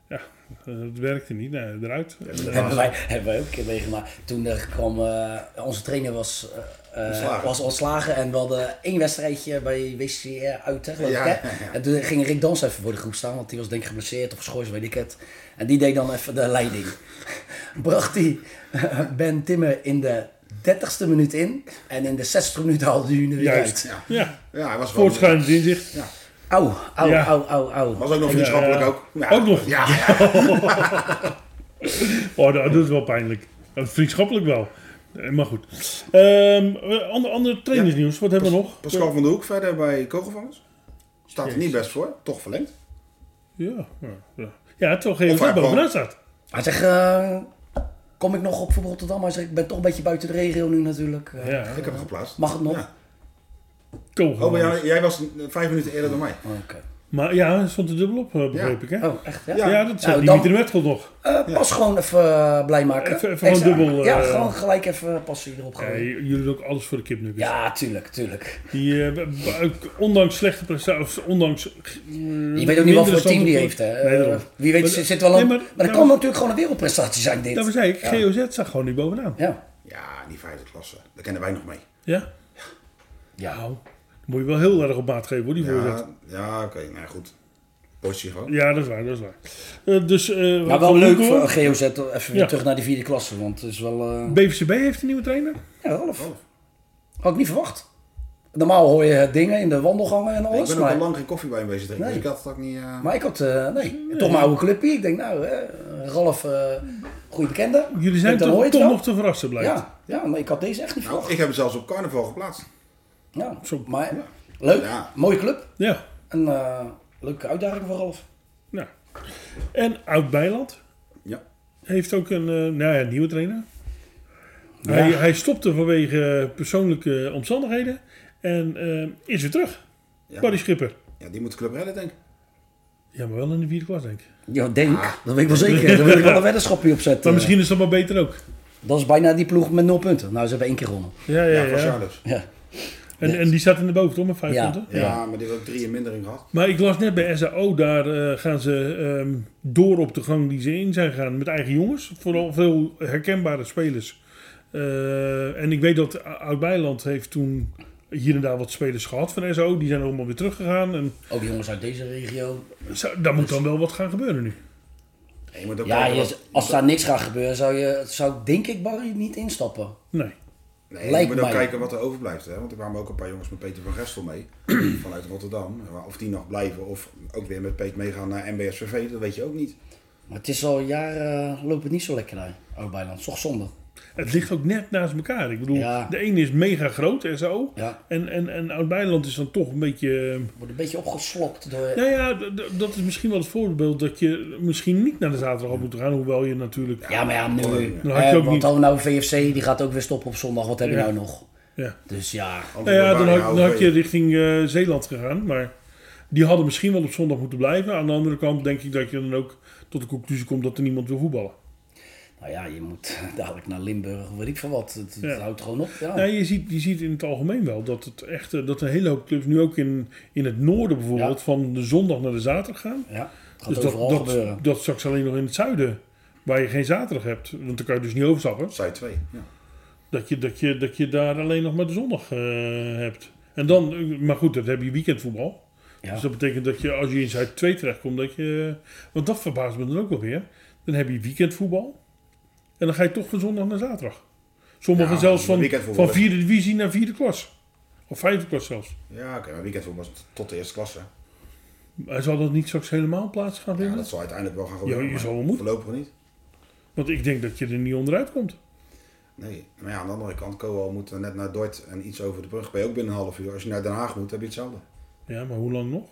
Speaker 2: Ja, eh, het werkte niet, nee, eruit. En, eh,
Speaker 4: Hebben wij, hebben wij ook een keer meegemaakt. Toen er kwam, eh, onze trainer was, eh, eh,
Speaker 3: Ontslagen.
Speaker 4: was ontslagen en we hadden één wedstrijdje bij WCR uit, hè, geloof
Speaker 3: Ja,
Speaker 4: ik.
Speaker 3: ja,
Speaker 4: Hè? En toen ging Rick Dans even voor de groep staan, want die was denk ik geblesseerd of geschorst, weet ik het. En die deed dan even de leiding. Bracht hij Ben Timmer in de 30ste minuut in en in de 60ste minuut haalde hij hem er weer
Speaker 2: Juist.
Speaker 4: uit.
Speaker 2: ja,
Speaker 3: Ja, hij was wel...
Speaker 2: voortschrijdend inzicht.
Speaker 4: Auw, auw,
Speaker 2: Ja.
Speaker 4: auw, auw, auw.
Speaker 3: Was ook nog vriendschappelijk
Speaker 2: Ja.
Speaker 3: ook. Ja.
Speaker 2: Ook nog?
Speaker 3: Ja, ja.
Speaker 2: Oh, dat, dat is wel pijnlijk. Eh, Vriendschappelijk wel. Eh, Maar goed. Ehm eh, ander, ander trainersnieuws, wat hebben we nog?
Speaker 3: Pascal van der Hoek verder bij Kogelvangers. Staat er niet best voor. Toch verlengd.
Speaker 2: Ja, ja, ja. ja toch even
Speaker 3: Of hij
Speaker 2: bovenaan
Speaker 3: gewoon-
Speaker 2: staat.
Speaker 4: Hij zegt, eh, kom ik nog op voor Rotterdam? Hij zegt, ik ben toch een beetje buiten de regio nu natuurlijk. Eh,
Speaker 2: Ja,
Speaker 3: Ik heb hem geplaatst.
Speaker 4: Mag het nog?
Speaker 3: Ja.
Speaker 2: toch.
Speaker 3: Oh, maar jij, jij was eh, vijf minuten eerder dan mij.
Speaker 4: Oké.
Speaker 2: Maar ja, hij stond er dubbel op, eh, begreep
Speaker 3: Ja.
Speaker 2: ik, hè?
Speaker 4: Oh, echt? Ja.
Speaker 2: Ja, dat zei
Speaker 4: Nou,
Speaker 2: die
Speaker 4: dan-
Speaker 2: Dieter Mertel nog.
Speaker 4: Eh, pas gewoon even eh, blij maken.
Speaker 2: Even- even gewoon
Speaker 4: Extra-
Speaker 2: dubbel, eh,
Speaker 4: ja, gewoon gelijk even passie erop
Speaker 2: Ja,
Speaker 4: gooien.
Speaker 2: j- jullie doen ook alles voor de kipnuggets.
Speaker 4: Ja, tuurlijk, tuurlijk.
Speaker 2: Die, eh, b- b- ook ondanks slechte prestaties, ondanks... eh,
Speaker 4: Je weet ook niet wat voor team die heeft. Hè.
Speaker 2: Nee, daarom.
Speaker 4: Eh, Wie weet,
Speaker 2: Maar
Speaker 4: zit
Speaker 2: dat-
Speaker 4: zit wel
Speaker 2: nee,
Speaker 4: een...
Speaker 2: maar-
Speaker 4: maar, dat
Speaker 2: nou,
Speaker 4: kan natuurlijk gewoon een wereldprestatie zijn, dit.
Speaker 2: Daarvoor zei ik, GOZ zag gewoon niet bovenaan.
Speaker 4: Ja.
Speaker 3: Ja, die vijfde klasse. Daar kennen wij nog mee.
Speaker 2: Ja?
Speaker 4: Ja.
Speaker 2: Nou, dan moet je wel heel erg op maat geven, hoor, die voorzet.
Speaker 3: Ja, ja oké. Nou ja, goed. Postje gewoon.
Speaker 2: Ja, dat is waar, dat is waar. Eh, dus... eh,
Speaker 4: Nou,
Speaker 2: wat
Speaker 4: wel
Speaker 2: we
Speaker 4: leuk
Speaker 2: doen,
Speaker 4: voor
Speaker 2: hoor.
Speaker 4: GOZ. Even weer
Speaker 2: Ja.
Speaker 4: terug naar die vierde klasse, want het is wel... eh
Speaker 2: BVCB heeft een nieuwe trainer.
Speaker 4: Ja, Ralf.
Speaker 3: Ralf.
Speaker 4: Had ik niet verwacht. Normaal hoor je eh, dingen in de wandelgangen en
Speaker 3: Ik
Speaker 4: alles,
Speaker 3: ben ook al
Speaker 4: maar...
Speaker 3: lang geen koffie bij hem bezig drinken.
Speaker 4: Nee.
Speaker 3: Dus ik had het ook niet... eh,
Speaker 4: Maar ik had, eh, nee, toch mijn oude clubje. Ik denk, nou, eh, Ralf, eh goede bekende.
Speaker 2: Jullie zijn
Speaker 4: Ik denk, dan
Speaker 2: toch,
Speaker 4: hoor je
Speaker 2: toch
Speaker 4: het wel.
Speaker 2: nog te verrassen, blijkt.
Speaker 4: Ja, ja maar ik had deze echt niet verwacht.
Speaker 3: Nou, ik heb het zelfs op carnaval geplaatst.
Speaker 4: Ja,
Speaker 2: Zo.
Speaker 4: maar eh, leuk,
Speaker 3: Ja.
Speaker 4: mooie club.
Speaker 2: ja.
Speaker 4: Een eh, leuke uitdaging voor Ralf.
Speaker 2: Nou. En Oud-Bijland
Speaker 3: Ja.
Speaker 2: heeft ook een eh, nou ja, nieuwe trainer. Hij, hij stopte vanwege eh, persoonlijke omstandigheden en eh, is weer terug.
Speaker 3: Ja.
Speaker 2: Barry Schipper.
Speaker 3: Ja, die moet de club redden, denk ik.
Speaker 2: Ja, maar wel in de vierde klas, denk ik.
Speaker 4: Ja, denk. Ah. Dat weet ik wel zeker. Daar wil ik wel een weddenschapje op zetten.
Speaker 2: Maar misschien is dat maar beter ook.
Speaker 4: Dat is bijna die ploeg met nul punten. Nou, ze hebben één keer gewonnen.
Speaker 2: Ja, ja,
Speaker 3: Ja,
Speaker 2: ja.
Speaker 3: van Charles.
Speaker 4: Ja.
Speaker 2: En, en die staat in de boven, toch? Met vijf
Speaker 4: Ja.
Speaker 2: punten?
Speaker 3: Ja, maar die heeft ook drie in mindering gehad.
Speaker 2: Maar ik las net bij SAO, daar eh, gaan ze ehm, door op de gang die ze in zijn gegaan met eigen jongens. Vooral veel herkenbare spelers. Eh, en ik weet dat Oud-Bijland heeft toen hier en daar wat spelers gehad van SAO. Die zijn allemaal weer teruggegaan. En
Speaker 4: Ook jongens uit deze regio.
Speaker 2: zo- daar
Speaker 4: Dus-
Speaker 2: moet dan wel wat gaan gebeuren nu.
Speaker 3: Ja, je moet ook
Speaker 4: Ja,
Speaker 3: kijken
Speaker 4: je-
Speaker 3: wat-
Speaker 4: als daar niks gaat gebeuren, zou, je, zou denk ik Barry niet instappen.
Speaker 2: Nee.
Speaker 3: Nee,
Speaker 4: Lijkt
Speaker 3: je moet ook
Speaker 4: mij.
Speaker 3: kijken wat er overblijft. Hè? Want er kwamen ook een paar jongens met Peter van Gestel mee. vanuit Rotterdam. Of die nog blijven. Of ook weer met Peter meegaan naar MBSVV. Dat weet je ook niet.
Speaker 4: Maar het is al jaren eh, loopt het niet zo lekker daar, Oud-Bijland. Toch zonde.
Speaker 2: Het ligt ook net naast elkaar. Ik bedoel,
Speaker 4: Ja.
Speaker 2: de ene is mega groot, SAO.
Speaker 4: Ja.
Speaker 2: En, en, en Oud-Bijland is dan toch een beetje... eh,
Speaker 4: Wordt een beetje opgeslokt door...
Speaker 2: Nou ja, d- d- dat is misschien wel het voorbeeld dat je misschien niet naar de zaterdag had moeten gaan. Hoewel je natuurlijk...
Speaker 4: Ja, maar ja, nu.
Speaker 2: Dan had je
Speaker 4: eh,
Speaker 2: ook
Speaker 4: want
Speaker 2: niet-
Speaker 4: hadden we nou VFC, die gaat ook weer stoppen op zondag. Wat heb je
Speaker 2: Ja.
Speaker 4: nou nog?
Speaker 2: Ja.
Speaker 4: Dus ja.
Speaker 2: Nou ja, dan had, dan had je
Speaker 3: je...
Speaker 2: richting eh, Zeeland gegaan. Maar die hadden misschien wel op zondag moeten blijven. Aan de andere kant denk ik dat je dan ook tot de conclusie komt dat er niemand wil voetballen.
Speaker 4: Nou ja, je moet dadelijk naar Limburg, weet ik veel wat. Het, het
Speaker 2: Ja.
Speaker 4: houdt gewoon op. Ja.
Speaker 2: Nou, je, ziet, je ziet in het algemeen wel dat, het echt, eh, dat een hele hoop clubs nu ook in, in het noorden bijvoorbeeld
Speaker 4: Ja.
Speaker 2: van de zondag naar de zaterdag gaan.
Speaker 4: ja. Het gaat
Speaker 2: dus
Speaker 4: overal
Speaker 2: dat,
Speaker 4: gebeuren.
Speaker 2: dat, dat straks alleen nog in het zuiden. Waar je geen zaterdag hebt, want dan kan je dus niet overstappen.
Speaker 3: Zij twee. Ja.
Speaker 2: Dat je, dat je, dat je daar alleen nog maar de zondag eh, hebt. En dan, eh, maar goed, dat heb je weekendvoetbal.
Speaker 4: Ja.
Speaker 2: Dus dat betekent dat je als je in Zuid 2 terechtkomt, dat je. Want dat verbaast me dan ook wel weer. Dan heb je weekendvoetbal. En dan ga je toch van zondag naar zaterdag. Sommigen
Speaker 3: Ja,
Speaker 2: zelfs van,
Speaker 3: weekendvoetbal
Speaker 2: van
Speaker 3: is-
Speaker 2: vierde divisie naar vierde klas. Of vijfde klas zelfs.
Speaker 3: Ja, oké, maar weekendvoetbal was tot de eerste klasse.
Speaker 2: Maar Zal dat niet straks helemaal plaats gaan
Speaker 3: Ja,
Speaker 2: vinden?
Speaker 3: dat zal uiteindelijk wel gaan
Speaker 2: Ja,
Speaker 3: gebeuren.
Speaker 2: je
Speaker 3: maar
Speaker 2: zal wel moeten.
Speaker 3: Voorlopig niet.
Speaker 2: Want ik denk dat je er niet onderuit komt.
Speaker 3: Nee. Maar ja, aan de andere kant, Koal moet net naar Dort en iets over de brug. Ben je ook binnen een half uur. Als je naar Den Haag moet, heb je hetzelfde.
Speaker 2: Ja, maar hoe lang nog?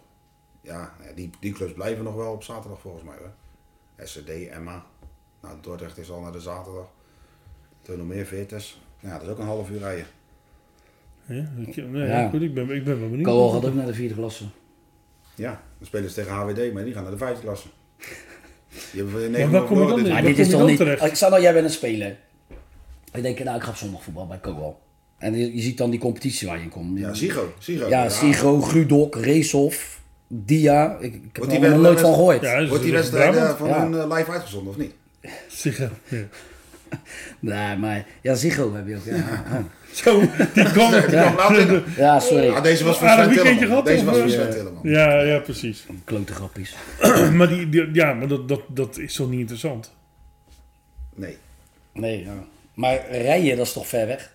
Speaker 3: Ja, nou ja, die, die clubs blijven nog wel op zaterdag volgens mij hoor. SCD, Emma. Nou, Dordrecht is al naar de zaterdag. Tunnelmeer, Veertes. Nou, ja, dat is ook een half uur rijden.
Speaker 2: Ja, ik, nee,
Speaker 4: Ja.
Speaker 2: goed, ik ben, ik ben wel benieuwd.
Speaker 4: Kool gaat ook naar de vierde klasse.
Speaker 3: Ja, dan spelen ze tegen HWD, maar die gaan naar de vijfde klasse. Die hebben voor
Speaker 2: Maar waar kom je dan in?
Speaker 3: dit jaar.
Speaker 4: Maar
Speaker 2: daar kom
Speaker 4: dit is
Speaker 2: je
Speaker 4: toch
Speaker 2: dan
Speaker 4: niet...
Speaker 2: terecht.
Speaker 4: Ik zou nou, jij bent een speler. Ik denk, nou, ik ga op zondag voetbal bij Kool. En je, je ziet dan die competitie waar je in komt.
Speaker 3: Ja, Sigo. Sigo.
Speaker 4: Ja, Sigo, Rudok, Reeshof, Dia. Ik, ik heb
Speaker 3: Want
Speaker 4: er
Speaker 3: die
Speaker 4: nog
Speaker 3: werden wel
Speaker 4: nooit van
Speaker 3: eens-
Speaker 4: gehoord.
Speaker 2: Ja, is
Speaker 3: Wordt die
Speaker 2: het
Speaker 3: wedstrijd eh,
Speaker 2: Brabant?
Speaker 3: van
Speaker 4: Ja.
Speaker 3: hun eh, live uitgezonden of niet?
Speaker 2: Sigo, ja.
Speaker 4: Nee, maar... Ja, Sigo heb je ook, ja.
Speaker 2: Zo, die kwam
Speaker 3: Ja, nou, dit-
Speaker 4: Ja, sorry.
Speaker 3: Ah, deze was voor
Speaker 2: Aardig
Speaker 3: Sven
Speaker 2: weekendje gehad,
Speaker 3: Tilleman. Deze
Speaker 2: of,
Speaker 3: was voor
Speaker 2: eh?
Speaker 3: Sven Tilleman.
Speaker 2: Ja, ja, precies.
Speaker 4: Klote grappies.
Speaker 2: maar die, die- ja, maar dat, dat, dat is toch niet interessant?
Speaker 3: Nee.
Speaker 4: Nee, ja. Maar rijden, dat is toch ver weg?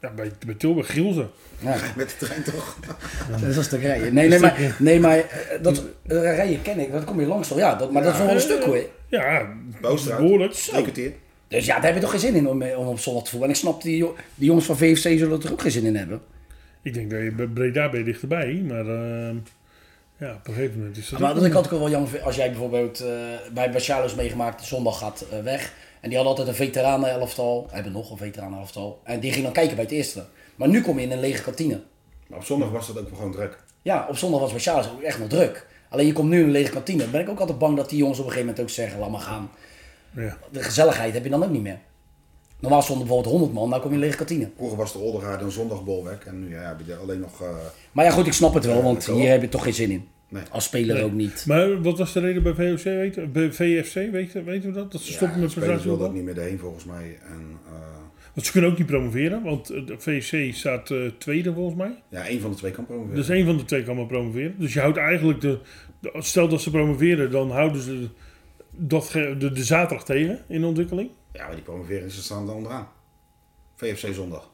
Speaker 2: Ja, bij, bij Tilburg Gielsen.
Speaker 4: Ja,
Speaker 3: Met de trein toch?
Speaker 4: dat is toch rijden? Nee, nee, maar, nee, maar eh, dat, eh, rijden ken ik. Dat kom je langs toch? Ja, dat, maar dat is nog wel een stuk hoor.
Speaker 2: Ja,
Speaker 3: Boosstraat.
Speaker 2: behoorlijk.
Speaker 3: Drie kwartier.
Speaker 4: Dus ja, daar heb je toch geen zin in om, eh, om op zondag te voetballen. En ik snap, die, jo- die jongens van VFC zullen er ook geen zin in hebben.
Speaker 2: Ik denk dat je bij Breda ben je dichterbij, maar ehm, ja, op een gegeven moment is dat
Speaker 4: Maar
Speaker 2: ook-
Speaker 4: dat ik altijd wel jammer vind, als jij bijvoorbeeld eh, bij Bachalos meegemaakt, zondag gaat eh, weg. En die hadden altijd een veteranenelftal, hebben nog een veteranenelftal. En die ging dan kijken bij het eerste. Maar nu kom je in een lege kantine.
Speaker 3: Maar op zondag was dat ook gewoon druk.
Speaker 4: Ja, op zondag was Bachalos ook echt nog druk. Alleen je komt nu in een lege kantine. Dan ben ik ook altijd bang dat die jongens op een gegeven moment ook zeggen, laat maar gaan.
Speaker 2: Ja.
Speaker 4: De gezelligheid heb je dan ook niet meer. Normaal stonden bijvoorbeeld 100 man, nou kom je in een lege kantine.
Speaker 3: Vroeger was de Oldegaard een zondagbolwerk. En nu ja, heb je er alleen nog... eh,
Speaker 4: Maar ja goed, ik snap het wel, want
Speaker 3: dat wel.
Speaker 4: hier heb je toch geen zin in.
Speaker 3: Nee.
Speaker 4: Als speler
Speaker 2: Nee.
Speaker 4: ook niet.
Speaker 2: Maar wat was de reden bij VOC, weet, bij VFC, weet, weten we dat? Dat ze
Speaker 3: ja,
Speaker 2: stoppen met
Speaker 3: de spelers wilden
Speaker 2: prestatiebal?
Speaker 3: ook niet meer heen volgens mij. En, eh,
Speaker 2: Want ze kunnen ook niet promoveren, want eh, de VFC staat eh, tweede volgens mij.
Speaker 3: ja, één van de twee kan promoveren.
Speaker 2: Dus één van de twee kan maar promoveren. Dus je houdt eigenlijk de, de- stel dat ze promoveren, dan houden ze dat, ge- de, de zaterdag tegen in de ontwikkeling.
Speaker 3: Ja, maar die promoveren ze staan er onderaan. VFC zondag.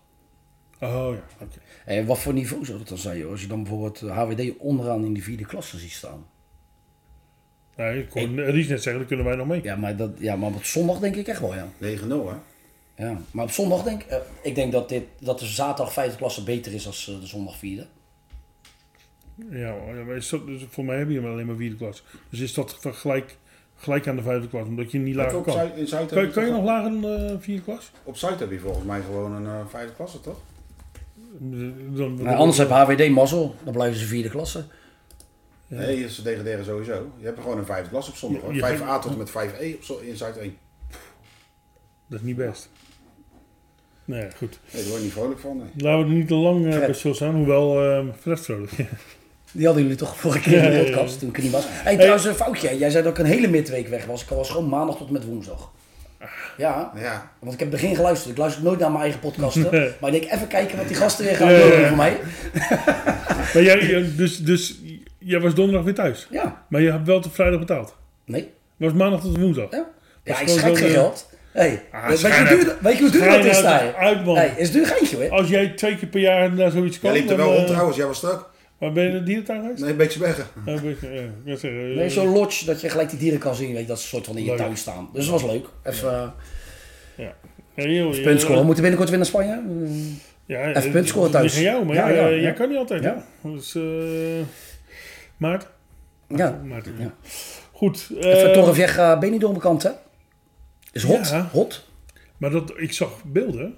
Speaker 2: Oh ja, oké.
Speaker 4: En Eh, wat voor niveau zou dat dan zijn, joh? Als je dan bijvoorbeeld HWD onderaan in die vierde klasse ziet staan.
Speaker 2: Nee, Nou, ik kon Ries net zeggen, daar kunnen wij nog mee.
Speaker 4: Ja, maar, dat, ja, maar op zondag denk ik echt wel, ja.
Speaker 3: 9-0 hè?
Speaker 4: ja. Maar op zondag denk ik... eh, ik denk dat, dit, dat de zaterdag vijfde klasse beter is dan de zondag vierde.
Speaker 2: Ja, hoor. Ja, maar is dat, dus voor mij heb je maar alleen maar vierde klas. Dus is dat ver- gelijk, gelijk aan de vijfde klas, omdat je niet lager
Speaker 3: Ook
Speaker 2: kan.
Speaker 3: Zuid- in Zuid
Speaker 2: Kan, kan je
Speaker 3: toch-
Speaker 2: nog lager dan eh, vierde klas?
Speaker 3: Op Zuid heb je volgens mij gewoon een eh, vijfde klasse, toch?
Speaker 2: Dan- dan-
Speaker 4: Maar anders heb HWD mazzel. Dan blijven ze vierde klasse.
Speaker 3: Nee, ze degraderen sowieso. Je hebt gewoon een vijfde klasse op zondag. hoor.
Speaker 2: Je- je
Speaker 3: 5A tot en met 5E op zo- in Zuid 1.
Speaker 2: Dat is niet best. Nee, ja, goed.
Speaker 3: Nee, daar word je niet vrolijk van. Nee.
Speaker 2: Laten we er niet te lang eh,
Speaker 4: Fred.
Speaker 2: bij stilstaan, hoewel eh Fred vrolijk.
Speaker 4: Die hadden jullie toch vorige keer in
Speaker 2: Ja,
Speaker 4: de
Speaker 2: ja,
Speaker 4: podcast
Speaker 2: ja.
Speaker 4: toen ik er niet was. hey, trouwens, een foutje. Jij zei dat ik een hele midweek weg was. Ik was gewoon maandag tot en met woensdag. Ja,
Speaker 3: Nou Ja,
Speaker 4: want ik heb het begin geluisterd. Ik luister nooit naar mijn eigen podcasten.
Speaker 2: Nee.
Speaker 4: Maar ik denk, even kijken wat die gasten weer gaan
Speaker 2: Ja, ja,
Speaker 4: doen
Speaker 2: ja.
Speaker 4: voor mij.
Speaker 2: maar jij, jij- dus, dus jij was donderdag weer thuis.
Speaker 4: Ja,
Speaker 2: Maar je hebt wel tot vrijdag betaald.
Speaker 4: nee.
Speaker 2: Was maandag tot woensdag.
Speaker 4: Ja,
Speaker 2: Dat
Speaker 4: ja
Speaker 2: is
Speaker 4: ik
Speaker 2: gewoon
Speaker 4: schrijf
Speaker 2: zo'n,
Speaker 4: geen
Speaker 2: eh,
Speaker 4: geld. Hey,
Speaker 2: ah,
Speaker 4: weet, je hoe
Speaker 2: schijn
Speaker 4: duur, weet je hoe duur dat
Speaker 2: Schijn
Speaker 4: is
Speaker 2: uit-
Speaker 4: daar?
Speaker 2: uit, man.
Speaker 4: Hey, is het duur geintje hoor.
Speaker 2: nou Als jij twee keer per jaar naar zoiets
Speaker 3: jij
Speaker 2: kan,
Speaker 3: liep er wel
Speaker 2: dan, eh,
Speaker 3: rond trouwens. Jij was er ook.
Speaker 2: Waar ben je naar de dierentuin geweest?
Speaker 3: Nee, een beetje weg.
Speaker 2: Ja, ben je- ja, ik wil zeggen, eh,
Speaker 4: Nee, zo'n lodge dat je gelijk die dieren kan zien. Weet je, dat ze soort van in je
Speaker 2: Leuk.
Speaker 4: tuin staan. Dus dat was leuk. Even eh,
Speaker 2: ja, joh, je-
Speaker 4: punt scoren. We moeten binnenkort weer naar Spanje. Mm.
Speaker 2: Ja,
Speaker 4: Even
Speaker 2: eh,
Speaker 4: punt scoren thuis.
Speaker 2: ligt aan jou, maar
Speaker 4: Ja,
Speaker 2: ja,
Speaker 4: ja,
Speaker 2: eh,
Speaker 4: ja.
Speaker 2: jij kan niet altijd.
Speaker 4: Ja.
Speaker 2: hè? Dus, eh Maart?
Speaker 4: Ja.
Speaker 2: Maart,
Speaker 4: Ja.
Speaker 2: Goed.
Speaker 4: Even
Speaker 2: eh,
Speaker 4: Torrevieja Benidorm bekant hè. Is hot.
Speaker 2: Ja.
Speaker 4: Hot.
Speaker 2: maar dat, ik zag beelden,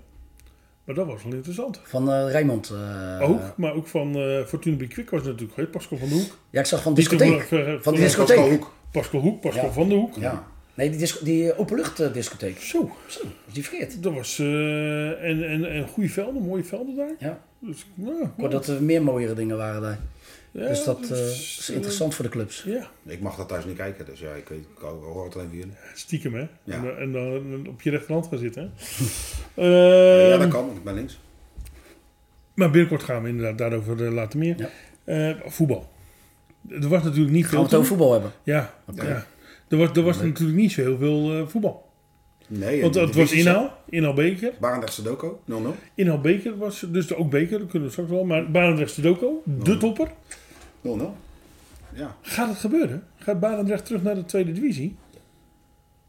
Speaker 2: maar dat was wel interessant.
Speaker 4: Van eh Rijmond. eh,
Speaker 2: ook, maar ook van eh Fortuna Bikwik was natuurlijk goed. Pascal van de Hoek.
Speaker 4: Ja, ik zag van discotheek.
Speaker 2: Van,
Speaker 4: Van die
Speaker 2: Pascal,
Speaker 4: discotheek.
Speaker 2: Hoek, Pascal
Speaker 4: Ja.
Speaker 2: van de Hoek.
Speaker 4: Ja. Nee, die, disco- die eh, openluchtdiscotheek.
Speaker 2: Zo,
Speaker 4: Zo, was die verkeerd.
Speaker 2: dat was... eh, en, en, en goede velden, mooie velden daar.
Speaker 4: Ja.
Speaker 2: Dus, nou,
Speaker 4: Ik hoor dat er meer mooiere dingen waren daar.
Speaker 2: ja,
Speaker 4: dus dat eh,
Speaker 2: is,
Speaker 4: is interessant voor de clubs.
Speaker 2: eh, Ja,
Speaker 3: Ik mag dat thuis niet kijken, dus ja, ik, weet, ik hoor het alleen van jullie.
Speaker 2: stiekem hè.
Speaker 3: Ja.
Speaker 2: En, dan- en dan op je rechterhand gaan zitten. hè.
Speaker 3: ja,
Speaker 2: Ehm,
Speaker 3: dat kan, want ik ben links.
Speaker 2: Maar binnenkort gaan we inderdaad daarover eh, later meer.
Speaker 4: Ja.
Speaker 2: Eh, voetbal. Er was natuurlijk niet
Speaker 4: Gaan we
Speaker 2: veel. toen.
Speaker 4: het over voetbal hebben?
Speaker 2: Ja, ja. Er was, er was natuurlijk niet zo heel veel eh, voetbal.
Speaker 3: Nee,
Speaker 2: Want
Speaker 3: in de
Speaker 2: het was
Speaker 3: divisie-
Speaker 2: inhaal, inhaalbeker.
Speaker 3: Barendrecht Sudoku, 0-0.
Speaker 2: Inhaalbeker was dus ook beker, dat kunnen we straks wel. Maar Barendrecht Sudoku, de
Speaker 3: Oh.
Speaker 2: topper.
Speaker 3: 0-0. Ja,
Speaker 2: Gaat het gebeuren? Gaat Barendrecht terug naar de tweede divisie?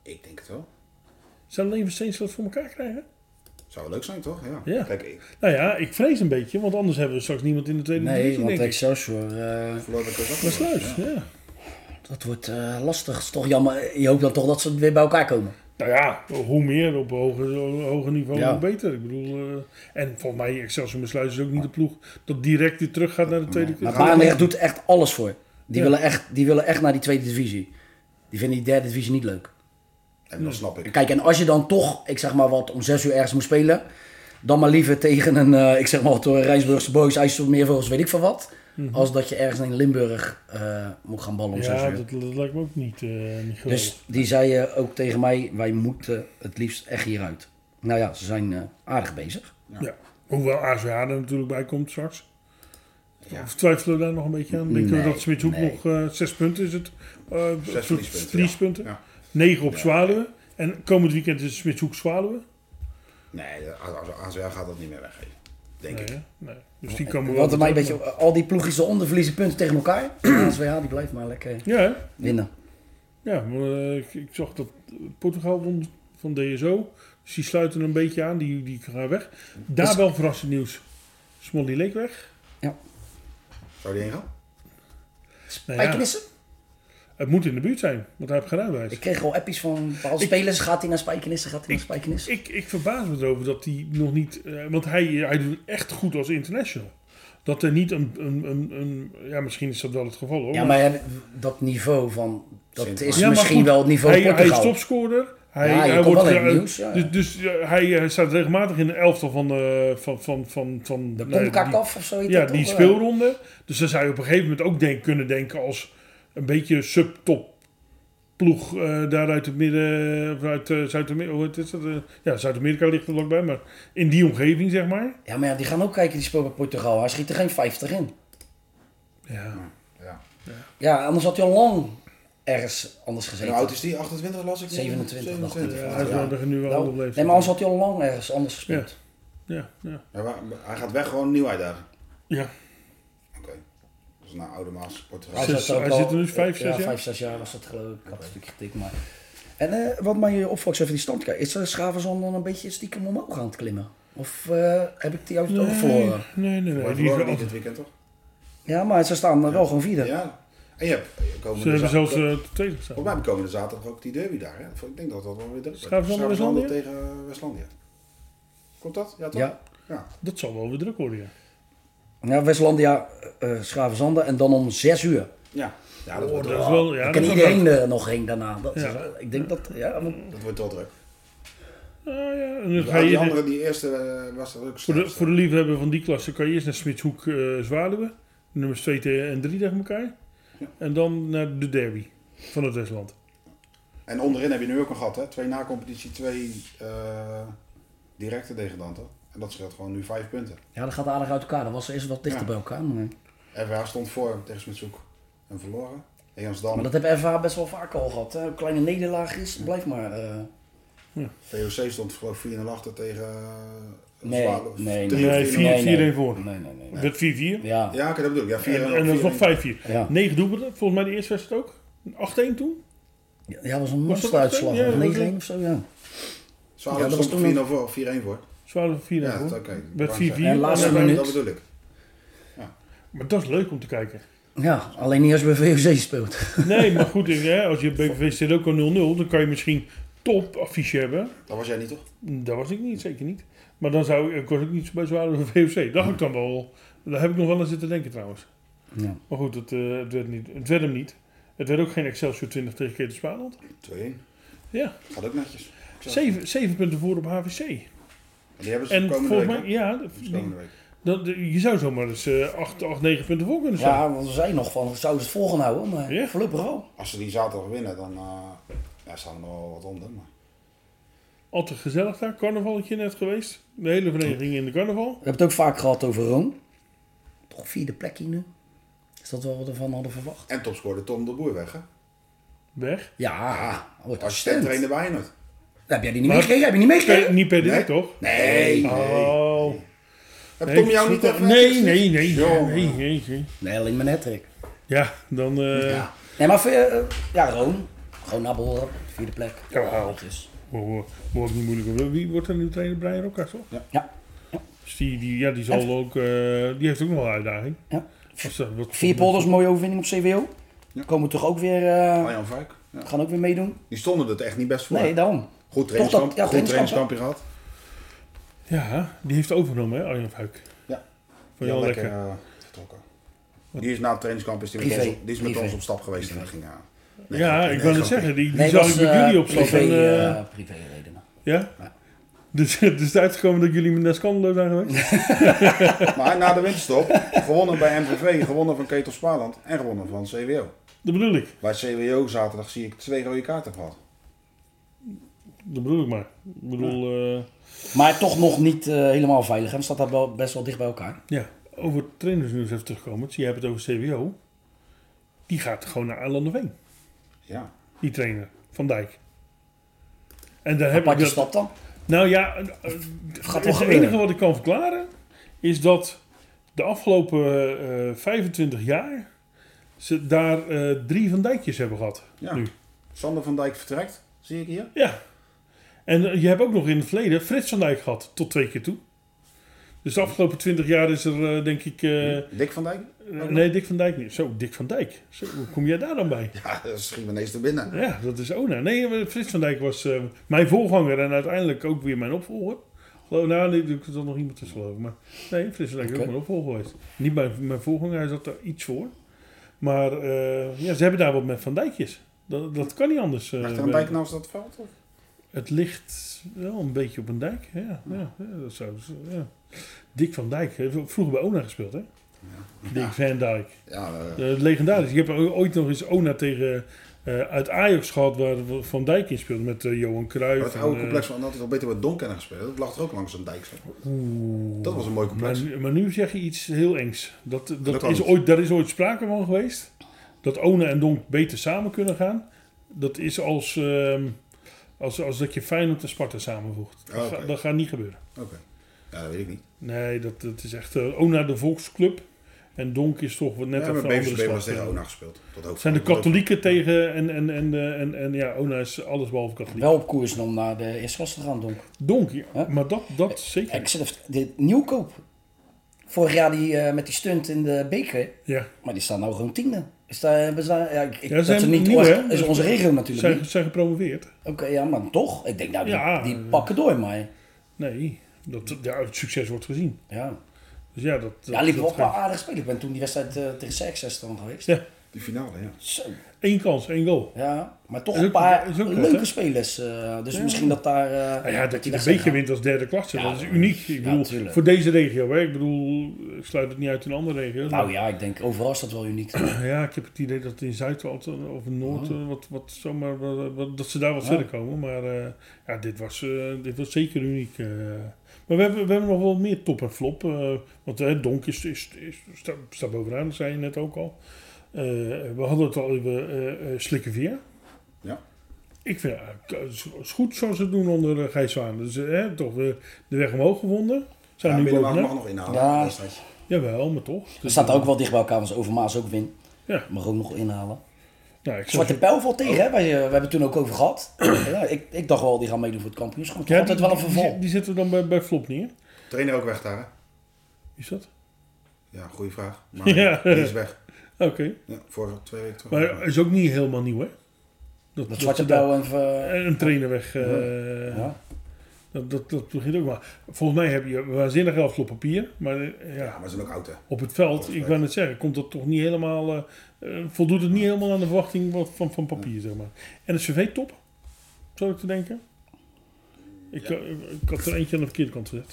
Speaker 3: ik denk het wel.
Speaker 2: Zou Leven Steens dat voor elkaar krijgen?
Speaker 3: Zou wel leuk zijn, toch? Ja.
Speaker 2: Ja.
Speaker 3: Kijk, ik
Speaker 2: Nou ja, ik vrees een beetje, want anders hebben we straks niemand in de tweede
Speaker 4: Nee,
Speaker 2: divisie,
Speaker 4: want
Speaker 2: denk ik.
Speaker 4: Excelsior, eh,
Speaker 3: verloor dat ook.
Speaker 2: Maar sluis, ja.
Speaker 4: dat wordt eh, lastig. is toch jammer. Je hoopt dan toch dat ze weer bij elkaar komen.
Speaker 2: Nou ja, hoe meer op hoger, hoger niveau,
Speaker 4: Ja.
Speaker 2: hoe beter. Ik bedoel, eh, en volgens mij Excelsior Besluit is ook niet de ploeg dat direct weer terug gaat naar de tweede
Speaker 4: Maar
Speaker 2: klasse.
Speaker 4: Barendrecht doet echt alles voor. Die,
Speaker 2: Ja.
Speaker 4: willen echt, die willen echt naar die tweede divisie. Die vinden die derde divisie niet leuk.
Speaker 3: En dat snap ik.
Speaker 4: Kijk, en als je dan toch, ik zeg maar wat, om zes uur ergens moet spelen... dan maar liever tegen een, eh, ik zeg maar wat, door Rijnsburgse boys, IJsselmeervogels, weet ik veel wat... als dat je ergens in Limburg eh, moet gaan ballen om zes
Speaker 2: Mhm. Ja,
Speaker 4: uur.
Speaker 2: dat, dat lijkt me ook niet, eh niet geweldig.
Speaker 4: Dus die zei eh, ook tegen mij, wij moeten het liefst echt hieruit. Nou ja, ze zijn eh, aardig bezig.
Speaker 2: ja. Hoewel ASH er natuurlijk bij komt straks. Of twijfelen we daar nog een beetje aan? Denken we
Speaker 4: Nee,
Speaker 2: dat Smitshoek
Speaker 4: nee.
Speaker 2: nog eh, zes punten is het? Eh, soort
Speaker 3: verliespunten, ja.
Speaker 2: verliespunten.
Speaker 3: Ja.
Speaker 2: Negen op Zwaluwen. En komend weekend is Smitshoek Zwaluwen.
Speaker 3: Nee, de AZR gaat dat niet meer weggeven. Denk
Speaker 2: Nee,
Speaker 3: ik.
Speaker 2: hè? nee. Dus die kan
Speaker 4: Wat er mij een beetje, al die ploegjes eronder verliezen punten tegen elkaar. Ja, die blijft maar lekker
Speaker 2: Ja, hè?
Speaker 4: winnen.
Speaker 2: Ja, maar, eh, ik, ik zag dat Portugal won van DSO. Dus die sluiten een beetje aan, die, die gaan weg. Daar
Speaker 4: Dus-
Speaker 2: wel verrassend nieuws. Smolly leek weg.
Speaker 3: Zou die heen gaan?
Speaker 2: Nou ja,
Speaker 4: Spijkenissen?
Speaker 2: het moet in de buurt zijn, want hij heeft geen rijbewijs.
Speaker 4: Ik kreeg al appies van bepaalde
Speaker 2: Ik-
Speaker 4: spelers. Gaat hij naar Spijkenissen? Gaat hij naar Spijkenissen?
Speaker 2: Ik, ik verbaas me erover dat hij nog niet... eh, want hij, hij doet het echt goed als international. Dat er niet een, een, een, een- Ja, misschien is dat wel het geval hoor.
Speaker 4: Ja, maar ja, dat niveau van... Dat
Speaker 3: Sint-
Speaker 4: is
Speaker 2: Ja, maar
Speaker 4: misschien
Speaker 2: goed,
Speaker 4: wel het niveau
Speaker 2: hij, hij is
Speaker 4: Portugal.
Speaker 2: topscorer. Hij,
Speaker 4: Ja, je
Speaker 2: hij
Speaker 4: komt
Speaker 2: wordt
Speaker 4: wel in het
Speaker 2: ge-
Speaker 4: nieuws, ja, ja.
Speaker 2: Dus, dus eh, hij, eh, staat regelmatig in de elftal van... eh van, van, van, van
Speaker 4: de
Speaker 2: nou ja, die-
Speaker 4: Concacaf of zo heet
Speaker 2: Ja,
Speaker 4: dat
Speaker 2: die
Speaker 4: toch? eh?
Speaker 2: speelronde. Dus dan zou je op een gegeven moment ook denk, kunnen denken als een beetje subtop ploeg eh, daar uit het midden, of uit Zuid-Amerika, hoe is dat? eh, ja, Zuid-Amerika ligt er ook bij, maar in die omgeving zeg maar.
Speaker 4: Ja, maar ja, die gaan ook kijken. Die spelen bij Portugal. Hij schiet er geen 50 in.
Speaker 2: Ja,
Speaker 3: Ja.
Speaker 4: Ja, anders had hij al lang ergens anders
Speaker 3: En
Speaker 4: gezeten.
Speaker 3: hoe oud is die? 28 las ik?
Speaker 4: 27, dacht ik.
Speaker 2: ja, hij is wel
Speaker 3: Ja.
Speaker 2: nog nu wel
Speaker 4: Nou,
Speaker 2: op leeftijd.
Speaker 4: nee, maar anders had hij al lang ergens anders gespeeld.
Speaker 2: Ja, ja.
Speaker 3: Ja, maar hij gaat weg gewoon nieuw uitdagen.
Speaker 2: ja.
Speaker 3: Oké. Dus naar oude Maas, Portugal.
Speaker 4: Hij,
Speaker 2: Zes-
Speaker 4: zat er ook
Speaker 2: hij
Speaker 4: al-
Speaker 2: zit er nu vijf,
Speaker 4: ja,
Speaker 2: zes jaar?
Speaker 4: vijf, zes jaar was dat geloof ik. Ik had een stukje getikt, maar... En eh, wat mij opvalt, zo even die stand kijken. Is eh, Schravenzon dan een beetje stiekem omhoog aan het klimmen? Of eh, heb ik die juist ook voor? eh?
Speaker 2: nee, nee, nee.
Speaker 3: Maar
Speaker 2: die is
Speaker 3: verloren
Speaker 2: wel-
Speaker 3: niet dit weekend toch?
Speaker 4: Ja, maar ze staan eh, wel gewoon vierde.
Speaker 3: Ja. En je hebt eh, komende
Speaker 2: ze hebben
Speaker 3: za-
Speaker 2: zelfs eh tweede gestaan.
Speaker 3: Volgens mij hebben komende zaterdag ook die derby daar. Hè? Ik denk dat dat wel weer druk wordt.
Speaker 2: Schaafzonder
Speaker 3: Schaafzonder
Speaker 2: Westlandia?
Speaker 3: tegen Westlandia. Klopt dat? Ja, toch?
Speaker 4: Ja.
Speaker 3: Ja.
Speaker 2: Dat zal wel weer druk worden, ja.
Speaker 4: Ja, Westlandia, eh Schravenzanden en dan om zes uur.
Speaker 3: Ja, ja dat,
Speaker 2: Oh,
Speaker 3: wordt
Speaker 2: dat is
Speaker 3: wel,
Speaker 2: wel, ja,
Speaker 4: dan
Speaker 2: dat
Speaker 4: kan
Speaker 2: is wel
Speaker 4: iedereen er nog heen daarna. Dat is
Speaker 2: Ja.
Speaker 4: wel- ik denk dat... Ja, want-
Speaker 3: dat wordt wel druk.
Speaker 2: Ah, ja. En dan
Speaker 3: Dus
Speaker 2: ga je...
Speaker 3: die andere, die eerste, eh, was er ook
Speaker 2: Voor de,
Speaker 3: straks.
Speaker 2: voor de liefhebber van die klasse kan je eerst naar Smitshoek eh Zwaluwe. Nummers 2 en 3 tegen elkaar. En dan naar de derby van het Westland.
Speaker 3: En onderin heb je nu ook een gat, hè? Twee na-competitie, twee eh, directe degradanten. En dat scheelt gewoon nu vijf punten.
Speaker 4: ja, dat gaat aardig uit elkaar. Dat was eerst wat dichter
Speaker 3: Ja.
Speaker 4: bij elkaar. Maar,
Speaker 3: RWH stond voor tegen Smitshoek en verloren. En Jansdam,
Speaker 4: maar dat hebben FH best wel vaak al gehad. Hè. Een kleine nederlaag is, blijf maar... eh,
Speaker 3: VOC stond geloof ik 4-0 achter tegen... eh,
Speaker 4: Nee,
Speaker 3: Zwaluw.
Speaker 4: nee,
Speaker 3: Drie
Speaker 2: nee.
Speaker 3: of
Speaker 2: Nee,
Speaker 3: vier-
Speaker 2: vier-
Speaker 3: Ja,
Speaker 4: nee, nee.
Speaker 2: 4-1 voor.
Speaker 4: Nee, nee, nee.
Speaker 2: Werd 4-4.
Speaker 4: Ja.
Speaker 3: oké, dat bedoel ik. Ja, 4-0.
Speaker 2: En, en dat is nog 5-4.
Speaker 4: Ja.
Speaker 2: 9 doelpunten. Volgens mij de eerste wedstrijd ook. 8-1 toen.
Speaker 4: Ja, dat was een
Speaker 2: Was dat
Speaker 4: monsteruitslag.
Speaker 2: echt een- ja,
Speaker 4: 9-1
Speaker 2: dat-
Speaker 4: of zo, ja.
Speaker 3: Zwaluw
Speaker 4: Ja, dat was
Speaker 3: stond
Speaker 4: toen
Speaker 3: 4-0 voor, of 4-1 voor.
Speaker 2: Zwaluwe 4-1
Speaker 3: Ja,
Speaker 2: voor.
Speaker 3: dat- oké.
Speaker 2: Werd 4-4.
Speaker 4: En
Speaker 2: En
Speaker 4: laatste
Speaker 2: dan-
Speaker 4: minuut.
Speaker 3: Dat bedoel ik.
Speaker 2: Maar dat is leuk om te kijken.
Speaker 4: Ja, alleen niet als je bij VOC speelt.
Speaker 2: Nee, maar goed. ik- hè, als je BVV zit ook al 0-0, dan kan je misschien top affiche hebben.
Speaker 3: Dat was jij niet, toch?
Speaker 2: Dat was ik niet, zeker niet. Maar dan zou ik, ik was ook niet zo bij Zwaluwe van VOC. Dat had ik dan wel. Daar heb ik nog wel aan zitten denken trouwens.
Speaker 4: Ja.
Speaker 2: Maar goed, het, eh, het, werd niet, het werd hem niet. Het werd ook geen Excelsior 20 tegen Keter Spaanland.
Speaker 3: 2-1.
Speaker 2: Ja,
Speaker 3: Gaat ook netjes. Zo.
Speaker 2: zeven, zeven punten voor op HVC.
Speaker 3: En die hebben Dus ze
Speaker 2: En
Speaker 3: komende week.
Speaker 2: volgens mij,
Speaker 3: hè?
Speaker 2: ja,
Speaker 3: Dus
Speaker 2: die-
Speaker 3: komende week.
Speaker 2: dat, je zou zomaar eens eh, 8, 8, 9 punten voor kunnen staan.
Speaker 4: ja, want we zijn nog van, zouden ze het volgen houden, maar
Speaker 2: Ja.
Speaker 4: voorlopig wel.
Speaker 3: Als ze die zaterdag winnen, dan eh, ja, staan er nog wel wat onder. Maar...
Speaker 2: Altijd gezellig daar, carnavaletje net geweest. De hele vereniging in de carnaval.
Speaker 4: We hebben het ook vaak gehad over Rome. Toch vierde plekje nu. Is dat wel wat we ervan hadden verwacht?
Speaker 3: En topscorer Tom de Boer weg, hè?
Speaker 2: Weg.
Speaker 4: Ja,
Speaker 3: Assistent
Speaker 4: wordt assistent.
Speaker 3: trainer bij Feyenoord.
Speaker 4: Heb jij die niet
Speaker 2: Maar-
Speaker 4: meegekregen? Heb je niet
Speaker 2: Per-
Speaker 4: meegekregen?
Speaker 2: niet per direct,
Speaker 3: Nee.
Speaker 2: toch?
Speaker 3: Nee.
Speaker 2: Oh.
Speaker 3: Heb
Speaker 2: Nee,
Speaker 3: Tom jou niet
Speaker 2: zoek-
Speaker 3: even...
Speaker 2: Nee, nee, nee.
Speaker 3: Jongen.
Speaker 2: Nee, nee, nee.
Speaker 4: Nee, alleen maar net, Rick.
Speaker 2: Ja, dan... eh
Speaker 3: Ja.
Speaker 4: Nee, maar eh, eh, ja, Rome. Gewoon naar behoren. Vierde plek.
Speaker 2: Jawel.
Speaker 4: Dus,
Speaker 2: Wow, wow, Wordt niet moeilijk. oh, hoor. Wie wordt er nu trainer? Brian Rokas, toch?
Speaker 4: ja.
Speaker 2: Dus die, die, ja, die, zal ook, eh, die heeft ook nog wel een uitdaging.
Speaker 4: ja.
Speaker 2: Als dat wat-
Speaker 4: Vier polders, mooie overwinning op CWO. Komen we toch ook weer, eh,
Speaker 2: Oh,
Speaker 3: Arjan Vuik. Ja.
Speaker 4: gaan ook weer meedoen.
Speaker 3: Die stonden er echt niet best voor.
Speaker 4: Nee, daarom.
Speaker 3: Goed trainingskamp,
Speaker 4: Toch dat- ja,
Speaker 3: goed
Speaker 4: trainingskamp,
Speaker 3: trainingskampje gehad.
Speaker 2: Ja, die heeft overgenomen, hè, Arjan Fuik.
Speaker 3: Ja.
Speaker 2: Vond je
Speaker 3: Ja,
Speaker 2: wel
Speaker 3: lekker
Speaker 2: lekker.
Speaker 3: eh, vertrokken. Die is na het trainingskamp is die met,
Speaker 4: Privé.
Speaker 3: ons, die is met
Speaker 4: Privé.
Speaker 3: ons op stap geweest en dat ging aan. Nee,
Speaker 2: ja,
Speaker 3: grapje,
Speaker 2: ik
Speaker 3: nee,
Speaker 2: wil het
Speaker 3: grapje.
Speaker 2: zeggen, die, die
Speaker 4: Nee,
Speaker 2: zag
Speaker 4: was,
Speaker 2: ik met
Speaker 4: eh,
Speaker 2: jullie op stap.
Speaker 4: privé,
Speaker 2: en, eh,
Speaker 4: eh, privéredenen.
Speaker 2: ja? Dus het is uitgekomen dat jullie naar Scandalo zijn geweest?
Speaker 3: Maar na de winterstop, gewonnen bij MVV, gewonnen van Ketel Spaarland en gewonnen van CWO.
Speaker 2: Dat bedoel ik.
Speaker 3: Bij CWO zaterdag zie ik twee rode kaarten gehad.
Speaker 2: Dat bedoel ik maar. Ik bedoel, eh,
Speaker 4: Maar toch nog niet eh, helemaal veilig. En staat daar wel best wel dicht bij elkaar.
Speaker 2: ja, over trainersnieuws even terugkomen. Je hebt het over CWO. Die gaat gewoon naar Aarlanderveen,
Speaker 3: Ja.
Speaker 2: die trainer, Van Dijk. En daar heb ik
Speaker 4: Aparte
Speaker 2: dat...
Speaker 4: stap dan.
Speaker 2: Nou ja, eh, eh,
Speaker 4: Gaat wel
Speaker 2: het
Speaker 4: gebeuren.
Speaker 2: enige wat ik kan verklaren is dat de afgelopen eh, 25 jaar ze daar eh, drie Van Dijkjes hebben gehad.
Speaker 3: Ja.
Speaker 2: Nu.
Speaker 3: Sander van Dijk vertrekt, zie ik hier.
Speaker 2: Ja. En eh, je hebt ook nog in het verleden Frits van Dijk gehad, tot twee keer toe. Dus de afgelopen 20 jaar is er, eh, denk ik... eh,
Speaker 3: Dick van Dijk?
Speaker 2: nee, Dick van Dijk niet. Zo, Dick van Dijk. Zo, hoe kom jij daar dan bij?
Speaker 3: Ja, dat schiet me ineens te binnen.
Speaker 2: Ja, dat is Ona. Nee, maar Frits van Dijk was eh, mijn voorganger en uiteindelijk ook weer mijn opvolger. Geloof, nou, nee, er zat nog iemand tussen geloof ik. Maar nee, Frits van Dijk is
Speaker 4: Oké.
Speaker 2: ook mijn opvolger geweest. Niet mijn, mijn voorganger, hij zat er iets voor. Maar eh, ja, ze hebben daar wat met Van Dijkjes. Dat, dat kan niet anders. eh,
Speaker 3: Achter een
Speaker 2: bij-
Speaker 3: dijk naast dat veld? Of?
Speaker 2: Het ligt wel een beetje op een dijk. Ja, ja, ja, dat zou, ja. Dick van Dijk heeft vroeger bij Ona gespeeld, hè? Dick van Dijk.
Speaker 3: Ja, eh,
Speaker 2: Eh, legendarisch. Ik heb ooit nog eens Ona tegen eh, uit Ajax gehad waar Van Dijk in speelde met eh, Johan Cruijff.
Speaker 3: het
Speaker 2: en,
Speaker 3: oude
Speaker 2: eh,
Speaker 3: complex van dat is al beter met Donken gespeeld. Dat lag er ook langs een dijk. zo. Dat was een mooi
Speaker 2: maar,
Speaker 3: complex.
Speaker 2: nu- maar nu zeg je iets heel engs. Dat, dat
Speaker 3: kan
Speaker 2: is
Speaker 3: niet.
Speaker 2: ooit, daar is ooit sprake van geweest. Dat Ona en Donk beter samen kunnen gaan. Dat is als, ehm, als, als dat je Feyenoord en Sparta samenvoegt. Dat,
Speaker 3: Oh, Oké.
Speaker 2: ga- dat gaat niet gebeuren.
Speaker 3: Oké. Ja, dat weet ik niet.
Speaker 2: Nee, dat, dat is echt eh, Ona de Volksclub. En Donk is toch wat net
Speaker 3: Ja,
Speaker 2: even
Speaker 3: maar
Speaker 2: een andere
Speaker 3: BVB was
Speaker 2: stad.
Speaker 3: tegen
Speaker 2: Het
Speaker 3: Ona gespeeld. Tot hoofd-
Speaker 2: zijn de
Speaker 3: tot-
Speaker 2: katholieken tegen en, en, en, eh, en, en ja, Ona is alles behalve katholiek.
Speaker 4: Wel op koers om naar de eerste klasse te gaan, Donk.
Speaker 2: Donk, ja,
Speaker 4: Huh?
Speaker 2: maar dat, dat zeker.
Speaker 4: Ik zit even- de nieuwkoop. Vorig jaar die, eh, met die stunt in de beker.
Speaker 2: Ja,
Speaker 4: Maar die staan nou gewoon tiende. Is daar, hebben ze daar- ja, ik, ik-
Speaker 2: Ja,
Speaker 4: dat
Speaker 2: zijn
Speaker 4: ze niet
Speaker 2: nieuw, hè?
Speaker 4: is onze regio natuurlijk
Speaker 2: zijn,
Speaker 4: niet.
Speaker 2: zijn gepromoveerd.
Speaker 4: Oké, ja, maar toch. Ik denk, nou, die,
Speaker 2: Ja.
Speaker 4: die pakken door, maar...
Speaker 2: Nee, dat, ja, het succes wordt gezien.
Speaker 4: Ja,
Speaker 2: Dus ja, dat...
Speaker 4: ja liep
Speaker 2: dat-
Speaker 4: wel op
Speaker 2: dat-
Speaker 4: wel aardig spelen. Ik ben toen die wedstrijd eh, tegen Serxes dan geweest.
Speaker 2: Ja,
Speaker 3: Die finale, ja.
Speaker 4: Zo.
Speaker 2: één kans, één goal.
Speaker 4: Ja, maar toch
Speaker 2: Is ook-
Speaker 4: een paar
Speaker 2: is ook goed,
Speaker 4: leuke
Speaker 2: hè?
Speaker 4: spelers. eh, dus misschien dat daar... eh,
Speaker 2: Nou ja, dat je
Speaker 4: die
Speaker 2: een
Speaker 4: wedstrijd
Speaker 2: beetje
Speaker 4: gaat.
Speaker 2: wint als derde klasse,
Speaker 4: Ja,
Speaker 2: dat is
Speaker 4: dat-
Speaker 2: uniek. Ik
Speaker 4: ja,
Speaker 2: bedoel,
Speaker 4: tuurlijk.
Speaker 2: voor deze regio, hè. Ik bedoel, ik sluit het niet uit in andere regio's. maar-
Speaker 4: Nou ja, ik denk overal is dat wel uniek.
Speaker 2: Nou Ja, ik heb het idee dat in Zuid of in Noord eh, wat, wat zomaar wat- wat- dat ze daar wat verder komen. Maar eh, ja, dit was, eh, dit was zeker uniek. eh. Maar we hebben, we hebben nog wel meer top en flop. eh, want eh, Donk is, is, is, staat, staat bovenaan, dat zei je net ook al. Eh, we hadden het al even eh, eh, Slikkeveer.
Speaker 3: Ja.
Speaker 2: Ik vind het eh, is goed zoals ze het doen onder eh, Gijs Zwaan. Dus eh, toch weer de weg omhoog gevonden. Zijn
Speaker 3: ja
Speaker 2: nu
Speaker 3: Binnenmaat
Speaker 2: bovenaan.
Speaker 3: mag nog inhalen.
Speaker 4: Ja.
Speaker 3: Dat is netjes.
Speaker 2: Jawel, maar toch.
Speaker 4: Dat staat ook wel dicht bij elkaar, want Overmaas ook win.
Speaker 2: Ja.
Speaker 4: Mag ook nog inhalen.
Speaker 2: Nou, ik
Speaker 4: Zwarte Pijl valt tegen, hè? Wij, eh, we hebben het toen ook over gehad. ja, ik, ik dacht wel, die gaan meedoen voor het kampioenschap. Ja, altijd wel een
Speaker 2: die-
Speaker 4: verval.
Speaker 2: Die, die zitten dan bij, bij Flop neer.
Speaker 3: Trainer ook weg daar, hè?
Speaker 2: Is dat?
Speaker 3: Ja, goede vraag. Maar
Speaker 2: Ja.
Speaker 3: die is weg.
Speaker 2: Oké.
Speaker 3: Ja, vorige twee weken terug.
Speaker 2: Maar is ook niet helemaal nieuw, hè?
Speaker 4: Dat Zwarte
Speaker 2: ze daar-
Speaker 4: Pijl en... ver-
Speaker 2: een trainer weg. eh,
Speaker 4: ja.
Speaker 2: dat, dat, dat begint ook maar. Volgens mij heb je waanzinnig elf op papier. Maar eh,
Speaker 3: Ja,
Speaker 2: ja,
Speaker 3: maar ze zijn ook oud, hè?
Speaker 2: op het veld, ik wou net zeggen, komt dat toch niet helemaal. eh, eh, voldoet het niet helemaal aan de verwachting wat- van, van papier, zeg maar. En de CV top, zou ik te denken. Ik, eh, ik had er eentje aan de verkeerde kant gezet.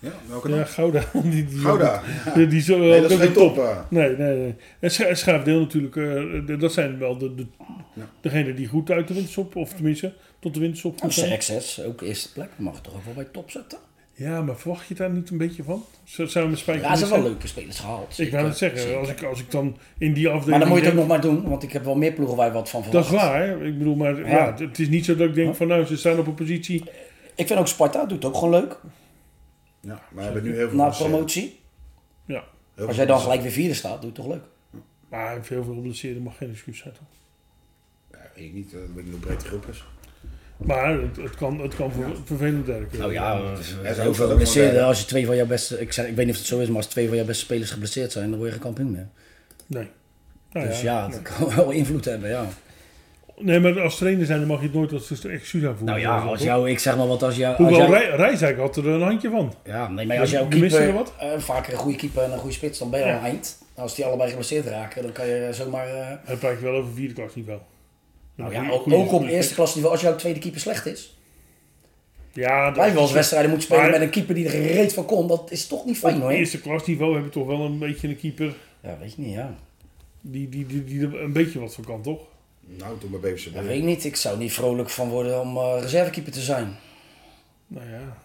Speaker 3: Ja, welke dan?
Speaker 2: Ja, Gouda. Die, die,
Speaker 3: Gouda.
Speaker 2: Die, die zo,
Speaker 3: Nee, dat is
Speaker 2: ook
Speaker 3: geen
Speaker 2: een
Speaker 3: top. eh.
Speaker 2: Nee, nee, nee. En Scha- Schaafdeel natuurlijk, eh, de- dat zijn wel de, de,
Speaker 3: Ja.
Speaker 2: degenen die goed uit de winterstop, of tenminste tot de winterstop
Speaker 4: Nou,
Speaker 2: goed zijn.
Speaker 4: Serxes, ook eerste plek. Mag toch ook wel bij top zetten?
Speaker 2: Ja, maar verwacht je daar niet een beetje van? Zou zou mijn spijker
Speaker 4: Ja, ze
Speaker 2: niet
Speaker 4: hebben wel
Speaker 2: zijn?
Speaker 4: leuke spelers gehaald. eh,
Speaker 2: Ik wou het zeggen,
Speaker 4: zeker.
Speaker 2: als ik, als ik dan in die afdeling...
Speaker 4: Maar dan moet je het ook
Speaker 2: denk,
Speaker 4: nog maar doen, want ik heb wel meer ploegen waar je wat van
Speaker 2: Dat
Speaker 4: verwacht.
Speaker 2: is waar, hè? ik bedoel, maar ja.
Speaker 4: Ja.
Speaker 2: het is niet zo dat ik denk van nou, ze staan op een positie...
Speaker 4: Ik vind ook Sparta, doet ook gewoon leuk.
Speaker 3: Ja, maar we hebben nu heel veel
Speaker 4: Na
Speaker 3: mensen-
Speaker 4: promotie.
Speaker 2: Ja,
Speaker 3: heel veel
Speaker 4: Als jij dan
Speaker 3: mensen-
Speaker 4: gelijk weer vierde staat, doe het toch leuk.
Speaker 2: maar veel veel geblesseerden mag geen excuus zijn. toch?
Speaker 3: Ja, weet ik niet, eh, weet ik niet hoe breed de groep is.
Speaker 2: Maar het, het kan, het kan ver- vervelend werken.
Speaker 4: Nou ja,
Speaker 3: heel veel
Speaker 4: over
Speaker 3: geblesseerden.
Speaker 4: geblesseerden. Als je twee van jouw beste, ik, zeg, ik weet niet of het zo is, maar als twee van jouw beste spelers geblesseerd zijn, dan word je geen kampioen meer.
Speaker 2: Nee. Nou
Speaker 4: Dus ja, dat kan wel invloed hebben, ja.
Speaker 2: Nee, maar als trainer zijn, dan mag je het nooit als zuster excuus aanvoeren.
Speaker 4: Nou ja, als jou, ik zeg maar wat als jou... Als
Speaker 2: Hoewel,
Speaker 4: jij,
Speaker 2: Rij- Rijsdijk had er een handje van.
Speaker 4: ja, nee, maar als jouw
Speaker 2: Missen
Speaker 4: keeper
Speaker 2: we wat?
Speaker 4: eh, vaker een goede keeper en een goede spits, dan ben je
Speaker 2: Ja.
Speaker 4: al eind. Als die allebei geblesseerd raken, dan kan je zomaar... eh,
Speaker 2: Hij praat je wel over vierde klas niveau.
Speaker 4: nou ja, ook, ook op eerste klasse niveau, als jouw tweede keeper slecht is.
Speaker 2: Ja, dat-
Speaker 4: Blijf wel eens wedstrijden moeten spelen
Speaker 2: Maar-
Speaker 4: met een keeper die er gereed van kon. Dat is toch niet fijn
Speaker 2: op
Speaker 4: hoor.
Speaker 2: eerste klas niveau hebben we toch wel een beetje een keeper
Speaker 4: Ja, weet je niet, ja.
Speaker 2: die, die, die, die er een beetje wat van kan, toch?
Speaker 3: Nou, toen bij BVCB.
Speaker 4: Dat weet ik niet. Ik zou niet vrolijk van worden om eh, reservekeeper te zijn.
Speaker 2: Nou ja.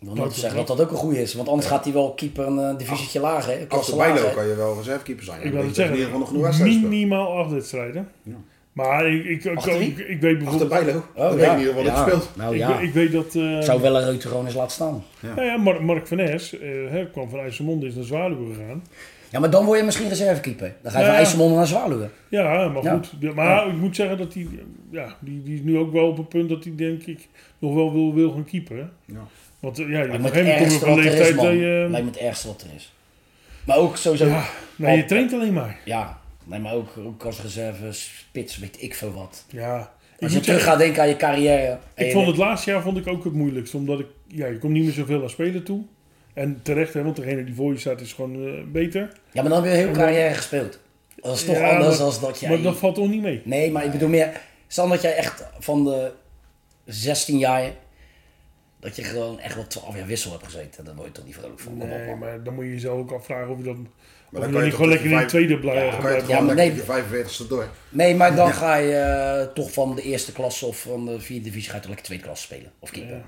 Speaker 4: Ik wil niet zeggen dat dat ook een goede is. Want anders gaat hij wel keeper een eh, divisietje lager. hè,
Speaker 3: Als
Speaker 4: klasse
Speaker 3: de
Speaker 4: lager,
Speaker 3: bijlo
Speaker 4: hè.
Speaker 3: kan je wel reservekeeper zijn.
Speaker 2: Ik wil het
Speaker 3: In ieder geval nog genoeg
Speaker 2: zeggen,
Speaker 3: wedstrijden spelen.
Speaker 2: minimaal acht wedstrijden.
Speaker 3: Ja.
Speaker 2: Maar ik, ik, ik,
Speaker 4: Achter wie?
Speaker 2: ik, ik weet bijvoorbeeld...
Speaker 3: Achter bijlo. dat weet ik niet wat
Speaker 4: Oh, Ja.
Speaker 3: het speelt.
Speaker 4: Nou
Speaker 2: ik,
Speaker 4: ja,
Speaker 2: ik weet dat... eh,
Speaker 4: Ik zou wel een Reuter gewoon eens laten staan.
Speaker 2: Nou ja, Mar- Mark van Nes eh, hè, kwam van IJsselmonde is naar Zwaluwe gegaan.
Speaker 4: Ja, maar dan word je misschien reservekeeper. Dan ga je
Speaker 2: Ja.
Speaker 4: van IJsselmonde naar Zwaluwe.
Speaker 2: Ja, maar
Speaker 4: Ja.
Speaker 2: goed. Ja, maar ik moet zeggen dat hij... Ja, die, die is nu ook wel op een punt dat hij denk ik nog wel wil, wil gaan keeperen.
Speaker 3: Ja.
Speaker 2: Want eh, ja, op
Speaker 4: Lijkt
Speaker 2: een
Speaker 4: me het
Speaker 2: gegeven moment kom je op
Speaker 4: ergste
Speaker 2: een
Speaker 4: wat er is,
Speaker 2: leeftijd eh, dat
Speaker 4: man.
Speaker 2: je...
Speaker 4: Lijkt me het ergste wat er is. Maar ook sowieso... Ja,
Speaker 2: nou, je traint alleen maar.
Speaker 4: Nee, maar ook, ook als reserve, spits, weet ik veel wat.
Speaker 2: Ja. Ik
Speaker 4: Als je
Speaker 2: moet
Speaker 4: terug
Speaker 2: zeggen,
Speaker 4: gaat denken aan je carrière. en
Speaker 2: ik
Speaker 4: je
Speaker 2: vond het laatste jaar vond ik ook het moeilijkst. Omdat ik... Ja, je komt niet meer zoveel aan spelen toe. En terecht, hè, want degene die voor je staat is gewoon eh, beter.
Speaker 4: Ja, maar dan heb je heel carrière gespeeld. Dat is toch
Speaker 2: Ja,
Speaker 4: anders
Speaker 2: maar-
Speaker 4: dan dat jij...
Speaker 2: Maar dat valt toch niet mee?
Speaker 4: Nee, maar ik bedoel meer... Stel dat jij echt van de 16 jaar... Dat je gewoon echt wel 12 jaar wissel hebt gezeten. Daar word je toch niet vrolijk van. Kom op,
Speaker 2: Nee,
Speaker 4: man.
Speaker 2: maar dan moet je jezelf ook afvragen of je dan,
Speaker 3: dan
Speaker 2: of
Speaker 3: kan
Speaker 2: je
Speaker 3: je
Speaker 2: dan niet
Speaker 3: toch
Speaker 2: gewoon lekker in de
Speaker 3: tussen
Speaker 2: tweede
Speaker 4: Ja,
Speaker 2: blijft.
Speaker 3: Dan kan je
Speaker 2: blijft.
Speaker 3: het gewoon
Speaker 4: maar
Speaker 3: lekker
Speaker 4: nee.
Speaker 3: je 45ste door.
Speaker 4: Nee, maar dan ga je eh, toch van de eerste klasse of van de vierde divisie... ga je toch lekker tweede klasse spelen. Of keeper.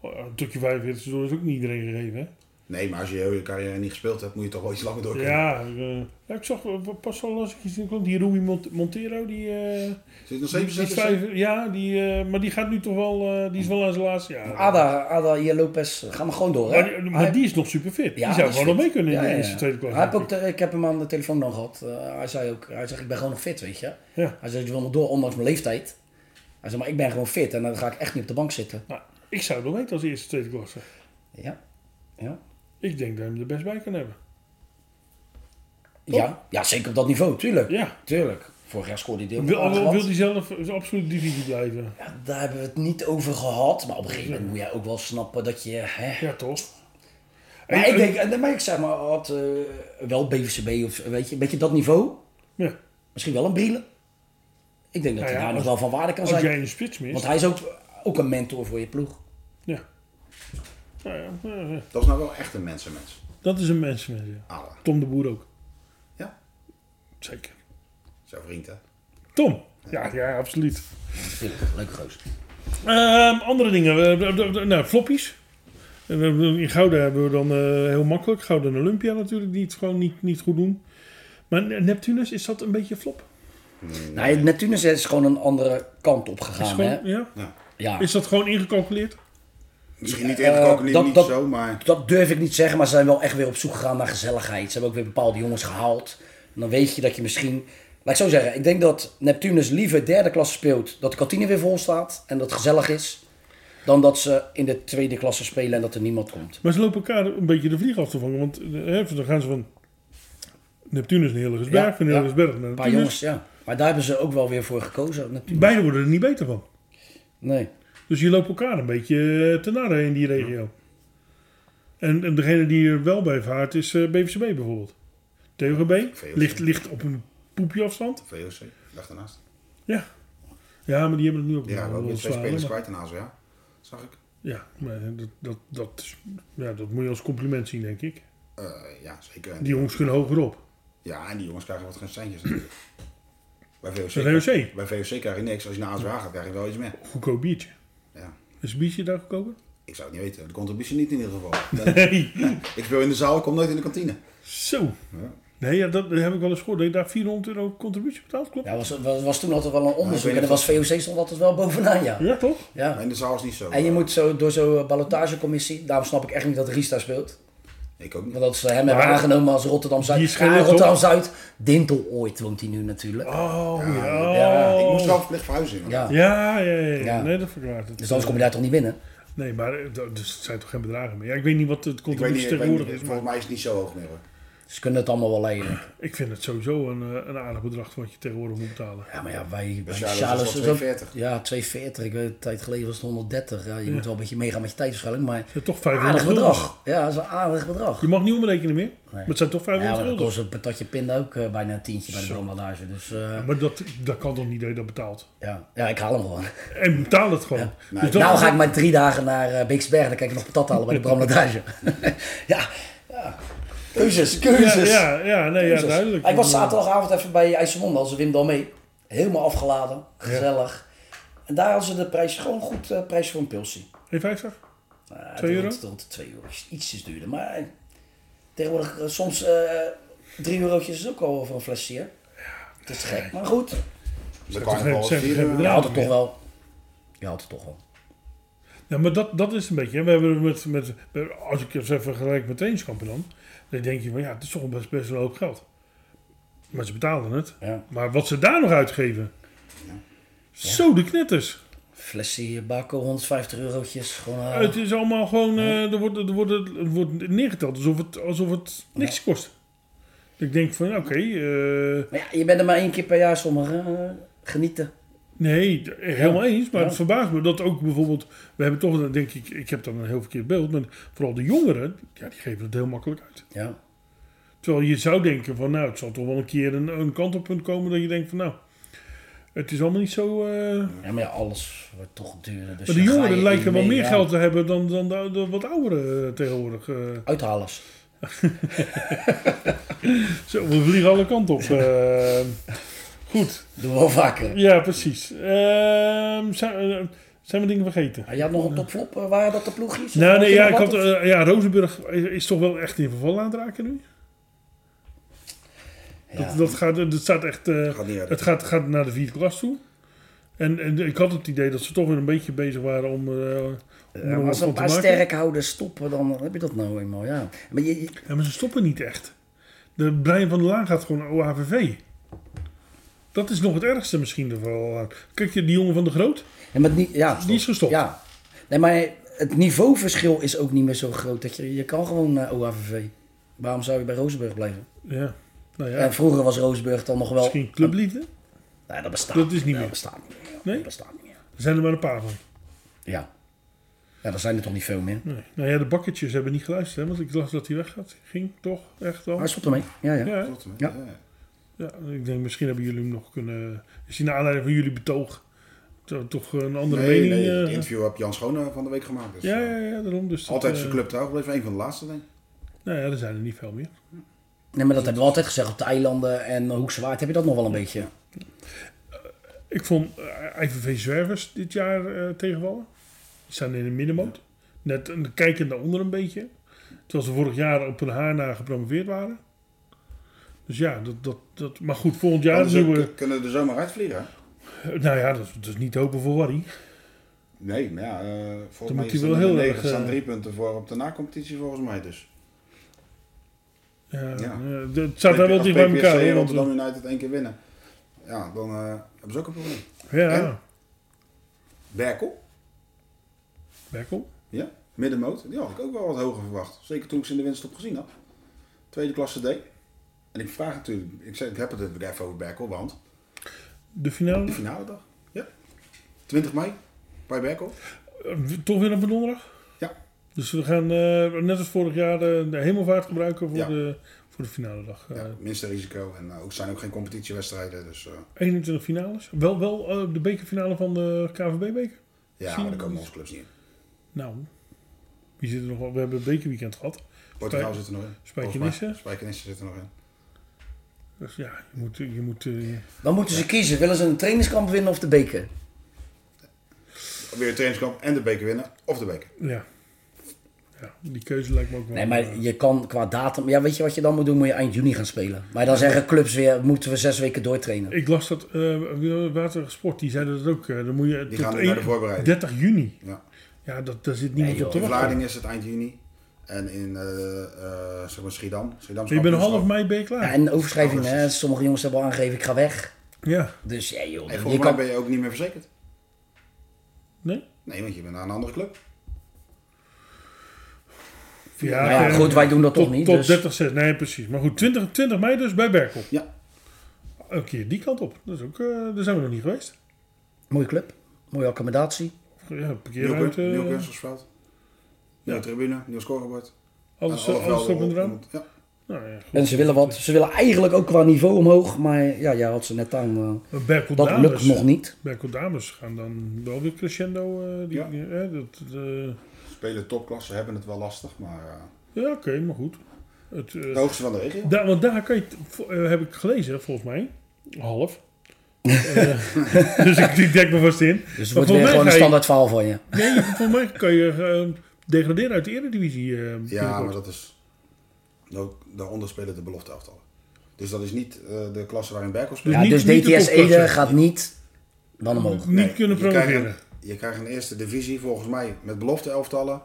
Speaker 2: Oh, Tot je 45 door is ook niet iedereen gegeven, hè?
Speaker 3: Nee, maar als je heel je carrière niet gespeeld hebt, moet je toch wel iets langer door kunnen.
Speaker 2: Ja, eh, ja, ik zag eh, pas al als ik iets in kwam, die Rui Mont- Montero, die... eh,
Speaker 3: Zit nog
Speaker 2: die,
Speaker 3: steeds
Speaker 2: die is
Speaker 3: bezet?
Speaker 2: vijf- ja, die, eh, maar die gaat nu toch wel, eh, die is wel aan zijn laatste jaar.
Speaker 4: Ada, Ada, hier Lopez. Ga maar gewoon door, Ah, hè.
Speaker 2: maar, die- maar
Speaker 4: Hij-
Speaker 2: die is nog super fit.
Speaker 4: Ja,
Speaker 2: die zou
Speaker 4: is
Speaker 2: gewoon nog
Speaker 4: fit.
Speaker 2: mee kunnen in
Speaker 4: Ja,
Speaker 2: de
Speaker 4: ja,
Speaker 2: eerste,
Speaker 4: ja.
Speaker 2: tweede klas.
Speaker 4: Hij heeft ook de- ik heb hem aan de telefoon dan gehad. Eh, hij zei ook, hij zegt, ik ben gewoon nog fit, weet je.
Speaker 2: Ja.
Speaker 4: Hij zei, ik wil nog door, ondanks mijn leeftijd. Hij zei, maar ik ben gewoon fit en dan ga ik echt niet op de bank zitten.
Speaker 2: Nou, ik zou hem weten als eerste, tweede klasse.
Speaker 4: Ja. Ja.
Speaker 2: Ik denk dat hij hem er best bij kan hebben.
Speaker 4: Ja, ja, zeker op dat niveau, tuurlijk.
Speaker 2: Ja.
Speaker 4: Tuurlijk. Vorig jaar scoorde hij deel.
Speaker 2: Wil, wil, wil hij zelf eh, absoluut divisie blijven?
Speaker 4: ja, daar hebben we het niet over gehad. Maar op een gegeven moment moet jij ook wel snappen dat je... Hè,
Speaker 2: Ja, toch?
Speaker 4: Maar
Speaker 2: Hey,
Speaker 4: ik
Speaker 2: eh,
Speaker 4: denk, en- maar ik zeg maar, had eh, wel BVCB of weet je, een beetje dat niveau.
Speaker 2: Ja.
Speaker 4: Misschien wel een Brielen. Ik denk dat
Speaker 2: Ja,
Speaker 4: hij
Speaker 2: Nou ja, als-
Speaker 4: daar nog wel van waarde kan
Speaker 2: Als
Speaker 4: zijn.
Speaker 2: jij een spits mist.
Speaker 4: Want hij is ook, ook een mentor voor je ploeg.
Speaker 2: Ja. Nou ja, ja, ja.
Speaker 3: Dat is nou wel echt een mensenmens.
Speaker 2: dat is een mensenmens. Ja.
Speaker 3: Alle.
Speaker 2: Tom de Boer ook.
Speaker 3: Ja.
Speaker 2: Zeker.
Speaker 3: Zijn vriend, hè?
Speaker 2: Tom. Ja, ja absoluut.
Speaker 4: Leuke goos.
Speaker 2: Ehm, andere dingen. Eh, d- d- d- nou, floppies. En, eh, In Gouda hebben we dan eh, heel makkelijk. Gouda en Olympia natuurlijk, die het gewoon niet, niet goed doen. Maar Ne- Neptunus, is dat een beetje flop?
Speaker 4: Nou, Neptunus is gewoon een andere kant op
Speaker 2: Is,
Speaker 4: gegaan.
Speaker 2: gewoon-
Speaker 4: hè?
Speaker 2: ja?
Speaker 4: Ja.
Speaker 2: is dat gewoon ingecalculeerd?
Speaker 3: Misschien niet
Speaker 4: Eh,
Speaker 3: eerder niet,
Speaker 4: dat-
Speaker 3: niet
Speaker 4: dat-
Speaker 3: zo, maar...
Speaker 4: Dat durf ik niet zeggen, maar ze zijn wel echt weer op zoek gegaan naar gezelligheid. Ze hebben ook weer bepaalde jongens gehaald. En dan weet je dat je misschien... Laat ik zo zeggen, ik denk dat Neptunus liever derde klasse speelt... dat de kantine weer vol staat en dat het gezellig is... dan dat ze in de tweede klasse spelen en dat er niemand komt.
Speaker 2: Maar ze lopen elkaar een beetje de vlieg af te vangen. Want eh, hè, dan gaan ze van Neptunus naar Hillegersberg,
Speaker 4: Ja,
Speaker 2: van
Speaker 4: ja.
Speaker 2: Hillegersberg naar
Speaker 4: Een paar
Speaker 2: Neptunus.
Speaker 4: jongens, ja. Maar daar hebben ze ook wel weer voor gekozen, natuurlijk.
Speaker 2: Beide worden er niet beter van.
Speaker 4: Nee.
Speaker 2: Dus je loopt elkaar een beetje eh, te narren in die regio. En, en degene die er wel bij vaart is eh, BVCB bijvoorbeeld. TGB
Speaker 3: VOC.
Speaker 2: ligt, ligt op een poepje afstand.
Speaker 3: VOC, dag daarnaast.
Speaker 2: Ja. Ja, maar die hebben het nu ook
Speaker 3: Ja, we hebben ook weer twee
Speaker 2: zwaar,
Speaker 3: spelers
Speaker 2: maar-
Speaker 3: kwijt in ASO, ja. Zag ik.
Speaker 2: Ja, maar dat, dat, dat, is- ja, dat moet je als compliment zien, denk ik.
Speaker 3: Eh, ja, zeker. En-
Speaker 2: Die jongens kunnen hogerop.
Speaker 3: Ja, en die jongens krijgen wat geen centjes natuurlijk. Bij VOC,
Speaker 2: Bij VOC?
Speaker 3: bij VOC krijg je niks. Als je naar ASO gaat, krijg je wel iets meer.
Speaker 2: Goedkoop biertje.
Speaker 3: Ja.
Speaker 2: Is een biertje daar goedkoper?
Speaker 3: Ik zou het niet weten. De contributie niet in ieder geval.
Speaker 2: Nee.
Speaker 3: ik speel in de zaal, ik kom nooit in de kantine.
Speaker 2: Zo. Nee, ja, dat heb ik wel eens gehoord. Dat je daar 400 euro contributie betaalt, klopt?
Speaker 4: Ja, was, was, was toen altijd wel een onderzoek.
Speaker 3: ik
Speaker 4: En
Speaker 3: weet
Speaker 4: er was VOC stond altijd wel bovenaan, ja.
Speaker 2: Ja, toch?
Speaker 4: ja.
Speaker 3: Maar in de zaal is niet zo.
Speaker 4: En je moet zo door zo'n ballotagecommissie. Daarom snap ik echt niet dat Ries daar speelt.
Speaker 3: Ik ook niet.
Speaker 4: Want dat ze hem hebben
Speaker 2: Maar-
Speaker 4: aangenomen als Rotterdam
Speaker 2: Die
Speaker 4: Zuid.
Speaker 2: is geen
Speaker 4: Rotterdam Zuid. Dintel ooit woont hij nu natuurlijk.
Speaker 2: Oh, ja.
Speaker 4: Ja,
Speaker 3: Ik moest wel verplicht verhuizen.
Speaker 4: Ja.
Speaker 2: Ja, ja, ja, ja.
Speaker 4: Ja.
Speaker 2: Nee, dat verklaart het.
Speaker 4: Dus anders kom je daar toch niet binnen?
Speaker 2: Nee, maar eh, dat dus het zijn toch geen bedragen meer? Ja, ik weet niet wat het
Speaker 3: Ik weet niet,
Speaker 2: contributie
Speaker 3: ik weet
Speaker 2: tegenwoordig
Speaker 3: niet,
Speaker 2: is. maar-
Speaker 3: volgens mij is het niet zo hoog meer hoor.
Speaker 4: Ze kunnen het allemaal wel lenen.
Speaker 2: Ik vind het sowieso een, eh, een aardig bedrag wat je tegenwoordig moet betalen.
Speaker 4: Ja, maar ja, wij... bij
Speaker 3: Charles
Speaker 4: Charles
Speaker 3: was wel
Speaker 4: is dat-
Speaker 3: 2,40.
Speaker 4: Ja, 2,40. Ik weet, een tijd geleden was het 130. Ja, je moet wel een beetje meegaan met je tijd waarschijnlijk, maar...
Speaker 2: Het is toch
Speaker 4: Aardig
Speaker 2: 500 gulden.
Speaker 4: bedrag. Ja, dat is een aardig bedrag.
Speaker 2: Je mag niet omrekenen meer. Maar het zijn toch
Speaker 4: Ja,
Speaker 2: 500
Speaker 4: maar dan
Speaker 2: gulden.
Speaker 4: kost een patatje pinda ook eh, bijna een tientje bij de brandbandage. Dus eh,
Speaker 2: Maar dat, dat kan toch niet dat je dat betaalt?
Speaker 4: ja. ja, ik haal hem gewoon.
Speaker 2: En betaal het gewoon.
Speaker 3: Nee.
Speaker 2: Dus dat
Speaker 4: nou
Speaker 2: is-
Speaker 4: ga ik maar drie dagen naar eh Beeksberg. Dan kan ik nog patat halen bij de brandbandage. ja, ja. Keuzes,
Speaker 2: ja,
Speaker 4: keuzes.
Speaker 2: ja, ja, nee, ja,
Speaker 4: Jezus.
Speaker 2: duidelijk.
Speaker 4: Ik was zaterdagavond even bij IJsselmonde als Wim dan mee. Helemaal afgeladen, gezellig. En daar hadden ze de prijs gewoon goed eh, prijs voor een pilsie.
Speaker 2: Hey, 50?
Speaker 4: Nou,
Speaker 2: Twee
Speaker 4: het
Speaker 2: euro?
Speaker 4: wordt Rond de 2 euro. Is Ietsjes duurder. Maar eh, tegenwoordig eh, soms eh 3 eurotjes is ook al voor een flesje. hè? Het is gek. Maar goed,
Speaker 3: Dan kan je
Speaker 2: geen-
Speaker 3: wel
Speaker 2: zeg- geen
Speaker 3: vieren.
Speaker 4: je
Speaker 2: bedrag.
Speaker 4: houdt het
Speaker 2: ja.
Speaker 4: toch wel. Je houdt het toch wel.
Speaker 2: Ja, maar dat, dat is een beetje. hè. We hebben met, met, als ik het even vergelijk met trainingskampen dan, dan denk je van ja, het is toch best, best wel een hoop geld. Maar ze betalen het.
Speaker 4: Ja.
Speaker 2: Maar wat ze daar nog uitgeven. Zo de knetters.
Speaker 4: Flesje bako, 150 eurotjes. Gewoon, eh,
Speaker 2: Het is allemaal gewoon, eh, er, wordt, er, wordt, er wordt neergeteld alsof het, alsof het niks kost. Ik denk van ja, oké, eh,
Speaker 4: Maar ja, je bent er maar één keer per jaar sommigen. eh, genieten.
Speaker 2: Nee, d- helemaal eens. Maar
Speaker 4: Ja.
Speaker 2: het verbaast me dat ook bijvoorbeeld... We hebben toch, dan denk ik, ik heb dan een heel verkeerd beeld. Maar vooral de jongeren, ja, die geven het heel makkelijk uit.
Speaker 4: Ja.
Speaker 2: Terwijl je zou denken van, nou, het zal toch wel een keer een, een kantelpunt komen... dat je denkt van, nou, het is allemaal niet zo... eh.
Speaker 4: ja, maar ja, alles wordt toch duurder. Dus
Speaker 2: Maar de
Speaker 4: dan ga je
Speaker 2: jongeren
Speaker 4: in
Speaker 2: lijken wel
Speaker 4: mee,
Speaker 2: meer
Speaker 4: ja.
Speaker 2: geld te hebben dan, dan de, de wat ouderen eh, tegenwoordig. eh.
Speaker 4: Uithalers.
Speaker 2: Zo, we vliegen alle kanten op. eh. goed,
Speaker 4: Doen we wel vaker.
Speaker 2: ja, precies. Ehm, zijn, eh, zijn we dingen vergeten?
Speaker 4: Je had nog een topflop. eh, waren dat de ploegjes?
Speaker 2: Nou, nee, ja, ik had,
Speaker 4: Of-
Speaker 2: eh, ja, Rozenburg is, is toch wel echt in verval aan het raken nu.
Speaker 4: Ja.
Speaker 2: Dat, dat, gaat, dat staat echt, eh,
Speaker 3: Gaat niet uit.
Speaker 2: het gaat, gaat naar de vierde klas toe. En, en ik had het idee dat ze toch weer een beetje bezig waren om, eh, om er
Speaker 4: Ja, maar
Speaker 2: wat
Speaker 4: als er
Speaker 2: van
Speaker 4: een
Speaker 2: te
Speaker 4: paar
Speaker 2: maken.
Speaker 4: sterkhouders stoppen, dan heb je dat nou eenmaal, ja. Maar je, je-
Speaker 2: Ja, maar ze stoppen niet echt. De Brian van der Laan gaat gewoon naar OHVV. Dat is nog het ergste misschien er wel aan. Kijk, die jongen van de Groot,
Speaker 4: ja, maar het niet, ja,
Speaker 2: die is gestopt.
Speaker 4: Ja. Nee, maar het niveauverschil is ook niet meer zo groot. Dat je, je kan gewoon naar OHVV. Waarom zou je bij Rozenburg blijven?
Speaker 2: Ja. Nou ja,
Speaker 4: En vroeger was Rozenburg dan nog wel...
Speaker 2: misschien clubliefde.
Speaker 4: Nee, dat bestaat
Speaker 2: Dat
Speaker 4: niet
Speaker 2: is niet
Speaker 4: meer.
Speaker 2: meer.
Speaker 4: Dat bestaat niet meer.
Speaker 2: Nee?
Speaker 4: Dat bestaat niet meer.
Speaker 2: Er zijn er maar een paar van.
Speaker 4: Ja. Ja, daar zijn er toch niet veel meer.
Speaker 2: Nee. Nou ja, de bakketjes hebben niet geluisterd, hè, want ik dacht dat hij weggaat. Ging toch? Echt wel?
Speaker 4: Maar stop ermee. Ja, ja.
Speaker 2: Ja,
Speaker 3: Tot en met,
Speaker 4: Ja.
Speaker 3: ja.
Speaker 2: ja, ik denk misschien hebben jullie hem nog kunnen... Is hij naar aanleiding van jullie betoog to- toch een andere
Speaker 3: Nee,
Speaker 2: mening?
Speaker 3: nee,
Speaker 2: eh,
Speaker 3: het interview heb Jan Schone van de week gemaakt. Dus,
Speaker 2: ja,
Speaker 3: eh,
Speaker 2: ja, ja, daarom. Dus dat,
Speaker 3: Altijd
Speaker 2: eh,
Speaker 3: zijn club trouw gebleven, een van de laatste denk ik.
Speaker 2: Nou ja, er zijn er niet veel meer.
Speaker 4: Nee, maar dat hebben we altijd gezegd. Op de eilanden en Hoekse Waard heb je dat nog wel een beetje.
Speaker 2: Ik vond eh, IVV Zwervers dit jaar eh, tegenvallen. Die staan in de middenmoot. Net een, kijken naar onder een beetje. Terwijl ze vorig jaar op een haar na gepromoveerd waren. Dus ja, dat, dat, dat, maar goed, volgend jaar...
Speaker 3: Anders
Speaker 2: Nieuwe,
Speaker 3: ook- kunnen er zomaar uitvliegen. hè?
Speaker 2: nou ja, dat, dat is niet te hopen voor Warrie.
Speaker 3: Nee, maar ja, eh
Speaker 2: Dan
Speaker 3: volgens mij
Speaker 2: moet
Speaker 3: is
Speaker 2: hij wel
Speaker 3: er
Speaker 2: heel
Speaker 3: heel
Speaker 2: erg,
Speaker 3: negen staan
Speaker 2: eh,
Speaker 3: drie punten voor op de nacompetitie volgens mij dus.
Speaker 2: Ja,
Speaker 3: Ja.
Speaker 2: eh, het staat daar wel
Speaker 3: Als
Speaker 2: dicht bij
Speaker 3: PSV
Speaker 2: elkaar. hoor,
Speaker 3: en
Speaker 2: want-
Speaker 3: Rotterdam United één keer winnen. Ja, dan eh, hebben ze ook een probleem.
Speaker 2: eh, Ja,
Speaker 3: En? Berkel,
Speaker 2: Berkel.
Speaker 3: ja, middenmoot. Die had ik ook wel wat hoger verwacht. Zeker toen ik ze in de winststop gezien had. Tweede klasse D. En ik vraag natuurlijk, ik, zeg, ik heb het natuurlijk even over Berkel, want
Speaker 2: De finale.
Speaker 3: de finale dag. Ja. 20 mei, bij Berkel.
Speaker 2: Eh, Toch weer op een donderdag?
Speaker 3: Ja.
Speaker 2: Dus we gaan eh, net als vorig jaar eh, de hemelvaart gebruiken voor,
Speaker 3: Ja.
Speaker 2: de, voor de finale dag. Eh,
Speaker 3: Ja, minste risico. En eh, ook zijn ook geen competitiewedstrijden. Dus eh,
Speaker 2: 21 finales. Wel, wel eh, de bekerfinale van de KVB-beker. Zien
Speaker 3: ja, maar daar
Speaker 2: we
Speaker 3: komen
Speaker 2: niet.
Speaker 3: onze clubs niet in.
Speaker 2: Nou, wie zit er nog wel? We hebben het bekerweekend gehad.
Speaker 3: Portugal zit er nog in.
Speaker 2: Spijkenisse.
Speaker 3: Volgens mij. Spijkenisse zit er nog in.
Speaker 2: Dus ja, je moet... Je moet eh,
Speaker 4: Dan moeten ze kiezen. Willen ze een trainingskamp winnen of de beker?
Speaker 3: Weer het trainingskamp en de beker winnen. Of de beker.
Speaker 2: ja. ja, die keuze lijkt me ook wel...
Speaker 4: Nee,
Speaker 2: eh,
Speaker 4: maar je kan qua datum... Ja, weet je wat je dan moet doen? Moet je eind juni gaan spelen. Maar dan zeggen clubs weer, moeten we zes weken doortrainen.
Speaker 2: Ik las dat eh Water Sport, die zeiden dat ook. eh, dan moet je
Speaker 3: Die
Speaker 2: tot
Speaker 3: gaan nu naar de
Speaker 2: één-
Speaker 3: voorbereiding.
Speaker 2: 30 juni.
Speaker 3: Ja.
Speaker 2: Ja, dat, daar zit niemand
Speaker 4: Nee,
Speaker 2: op te
Speaker 3: In
Speaker 2: wachten.
Speaker 3: Vlaardingen is het eind juni. En in eh, eh, zeg maar Schiedam. Schiedam
Speaker 2: Je bent half mei ben je
Speaker 4: Ja,
Speaker 2: klaar.
Speaker 4: en overschrijving, hè. Sommige jongens hebben al aangegeven, ik ga weg.
Speaker 2: Ja,
Speaker 4: Dus ja, joh.
Speaker 3: En
Speaker 4: je
Speaker 3: volgens mij
Speaker 4: kan...
Speaker 3: ben je ook niet meer verzekerd.
Speaker 2: nee?
Speaker 3: Nee, want je bent naar een andere club.
Speaker 2: Ja,
Speaker 4: Nou ja,
Speaker 2: oké.
Speaker 4: goed, wij doen dat
Speaker 2: tot,
Speaker 4: toch niet.
Speaker 2: Tot
Speaker 4: dus,
Speaker 2: 30 cent, nee precies. Maar goed, 20, 20 mei dus bij Berkel.
Speaker 3: Ja.
Speaker 2: Een keer die kant op. Dat is ook, eh, daar zijn we nog niet geweest.
Speaker 4: Mooie club, mooie accommodatie.
Speaker 2: Ja,
Speaker 3: Nieuw
Speaker 2: parkeerruimte,
Speaker 3: kun- nieuw
Speaker 2: eh,
Speaker 3: kunstgrasveld. Nieuwe tribune, nieuw scorebord.
Speaker 2: alles,
Speaker 3: Alle
Speaker 2: alles
Speaker 3: velden
Speaker 2: erop en eraan.
Speaker 3: rond. Ja.
Speaker 2: Nou ja, goed.
Speaker 4: En ze willen wat, ze willen eigenlijk ook qua niveau omhoog, maar ja, jij had ze net aan. eh,
Speaker 2: Maar Berkel
Speaker 4: dat
Speaker 2: dames,
Speaker 4: lukt nog niet.
Speaker 2: Berkel dames gaan dan wel weer crescendo. eh, die,
Speaker 3: Ja.
Speaker 2: eh, dat, eh,
Speaker 3: Spelen topklasse hebben het wel lastig, maar eh,
Speaker 2: ja, oké, maar goed. Het, eh,
Speaker 3: de hoogste van de regio.
Speaker 2: daar- want daar kan je, t- vo- eh, heb ik gelezen, hè, volgens mij, half. Eh, dus ik, ik dek me vast in.
Speaker 4: Dus het
Speaker 2: Maar
Speaker 4: wordt weer
Speaker 2: volgens mij
Speaker 4: gewoon een
Speaker 2: ga je-
Speaker 4: standaard verhaal van je.
Speaker 2: Nee, volgens mij kan je eh, degraderen uit de Eredivisie. eh,
Speaker 3: Ja,
Speaker 2: binnenkort.
Speaker 3: maar dat is. daar- Daaronder spelen de belofte elftallen. Dus dat is niet eh, de klasse waarin Berkel speelt.
Speaker 4: Ja,
Speaker 2: niet-
Speaker 4: dus
Speaker 2: niet de
Speaker 4: DTS Ede
Speaker 2: topklasse.
Speaker 4: gaat niet dan omhoog.
Speaker 2: niet
Speaker 3: Nee,
Speaker 2: kunnen
Speaker 3: je krijgt een-
Speaker 2: promoveren.
Speaker 3: Je krijgt een eerste divisie volgens mij met belofte elftallen.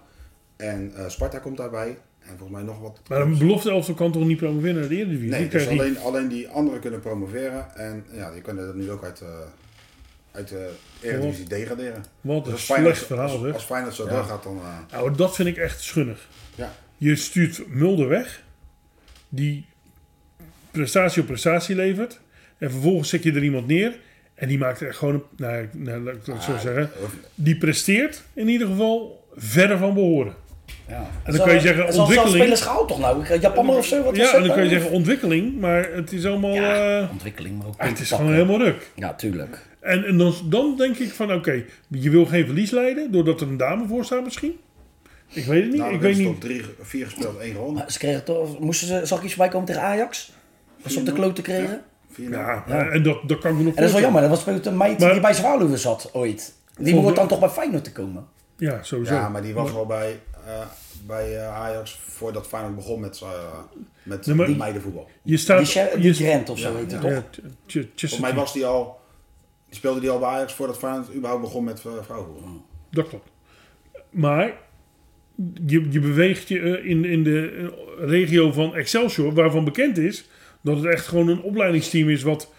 Speaker 3: En eh, Sparta komt daarbij. En volgens mij nog wat.
Speaker 2: Maar een belofte elftal kan toch niet promoveren naar de Eredivisie?
Speaker 3: Nee,
Speaker 2: Die
Speaker 3: dus
Speaker 2: krijgt die-
Speaker 3: alleen, alleen die anderen kunnen promoveren. En ja, die kunnen dat nu ook uit, eh, uit de Eredivisie degraderen.
Speaker 2: Wat
Speaker 3: Dus
Speaker 2: een
Speaker 3: als Feyenoord-
Speaker 2: slecht verhaal,
Speaker 3: Als,
Speaker 2: zeg.
Speaker 3: als Feyenoord zo doorgaat, dan... eh,
Speaker 2: Nou, dat vind ik echt schunnig.
Speaker 3: ja.
Speaker 2: Je stuurt Mulder weg, die prestatie op prestatie levert. En vervolgens zet je er iemand neer. En die maakt echt gewoon een. Nou, ik- nou, laat ik het zo zeggen. Die presteert in ieder geval verder van behoren.
Speaker 4: Ja.
Speaker 2: En dan kun je zeggen,
Speaker 4: Zal zelfs
Speaker 2: ontwikkeling-
Speaker 4: spelers gehaald toch nou? Japaner of zo? Wat was
Speaker 2: Ja,
Speaker 4: dat
Speaker 2: en dan kun je
Speaker 4: nou?
Speaker 2: zeggen ontwikkeling, maar het is allemaal.
Speaker 4: Ja,
Speaker 2: eh,
Speaker 4: Ah, ontwikkeling, maar ook
Speaker 2: het is
Speaker 4: pakken.
Speaker 2: gewoon helemaal ruk.
Speaker 4: Ja, tuurlijk.
Speaker 2: En, en dan, dan denk ik van, oké, je wil geen verlies leiden, doordat er een dame voor staat misschien. Ik weet het niet.
Speaker 3: Nou,
Speaker 2: ik
Speaker 3: ik
Speaker 2: weet
Speaker 3: top
Speaker 2: niet.
Speaker 3: 3, 4 gespeeld, 1 gewonnen.
Speaker 4: Maar ze kregen toch, moesten ze, zag ik iets voorbij komen tegen Ajax? Dat ze op de klote kregen?
Speaker 3: Vier
Speaker 2: Ja,
Speaker 4: Ja.
Speaker 2: en dat, dat kan ik me nog
Speaker 4: En dat is wel
Speaker 2: voorstellen.
Speaker 4: jammer, dat was speelde een meid
Speaker 2: Maar-
Speaker 4: die bij Zwaluwen zat ooit. Die
Speaker 2: Volgens-
Speaker 4: hoort dan toch bij Feyenoord te komen?
Speaker 2: Ja, sowieso.
Speaker 3: Ja, maar die was al bij, eh, bij eh, Ajax voordat Feyenoord begon met, eh met
Speaker 2: Nee, maar-
Speaker 3: die meidenvoetbal.
Speaker 2: Je staat...
Speaker 4: Die, Sher- die
Speaker 2: je-
Speaker 4: Grant of zo heet
Speaker 3: ja.
Speaker 4: het
Speaker 2: Ja,
Speaker 4: toch?
Speaker 2: Ch- Ch- Chesterfield.
Speaker 3: Volgens mij was die al, die speelde die al bij Ajax voordat Feyenoord überhaupt begon met eh, vrouwenvoetbal.
Speaker 2: Dat klopt. Maar je, je beweegt je eh, in, in de eh, regio van Excelsior, waarvan bekend is dat het echt gewoon een opleidingsteam is wat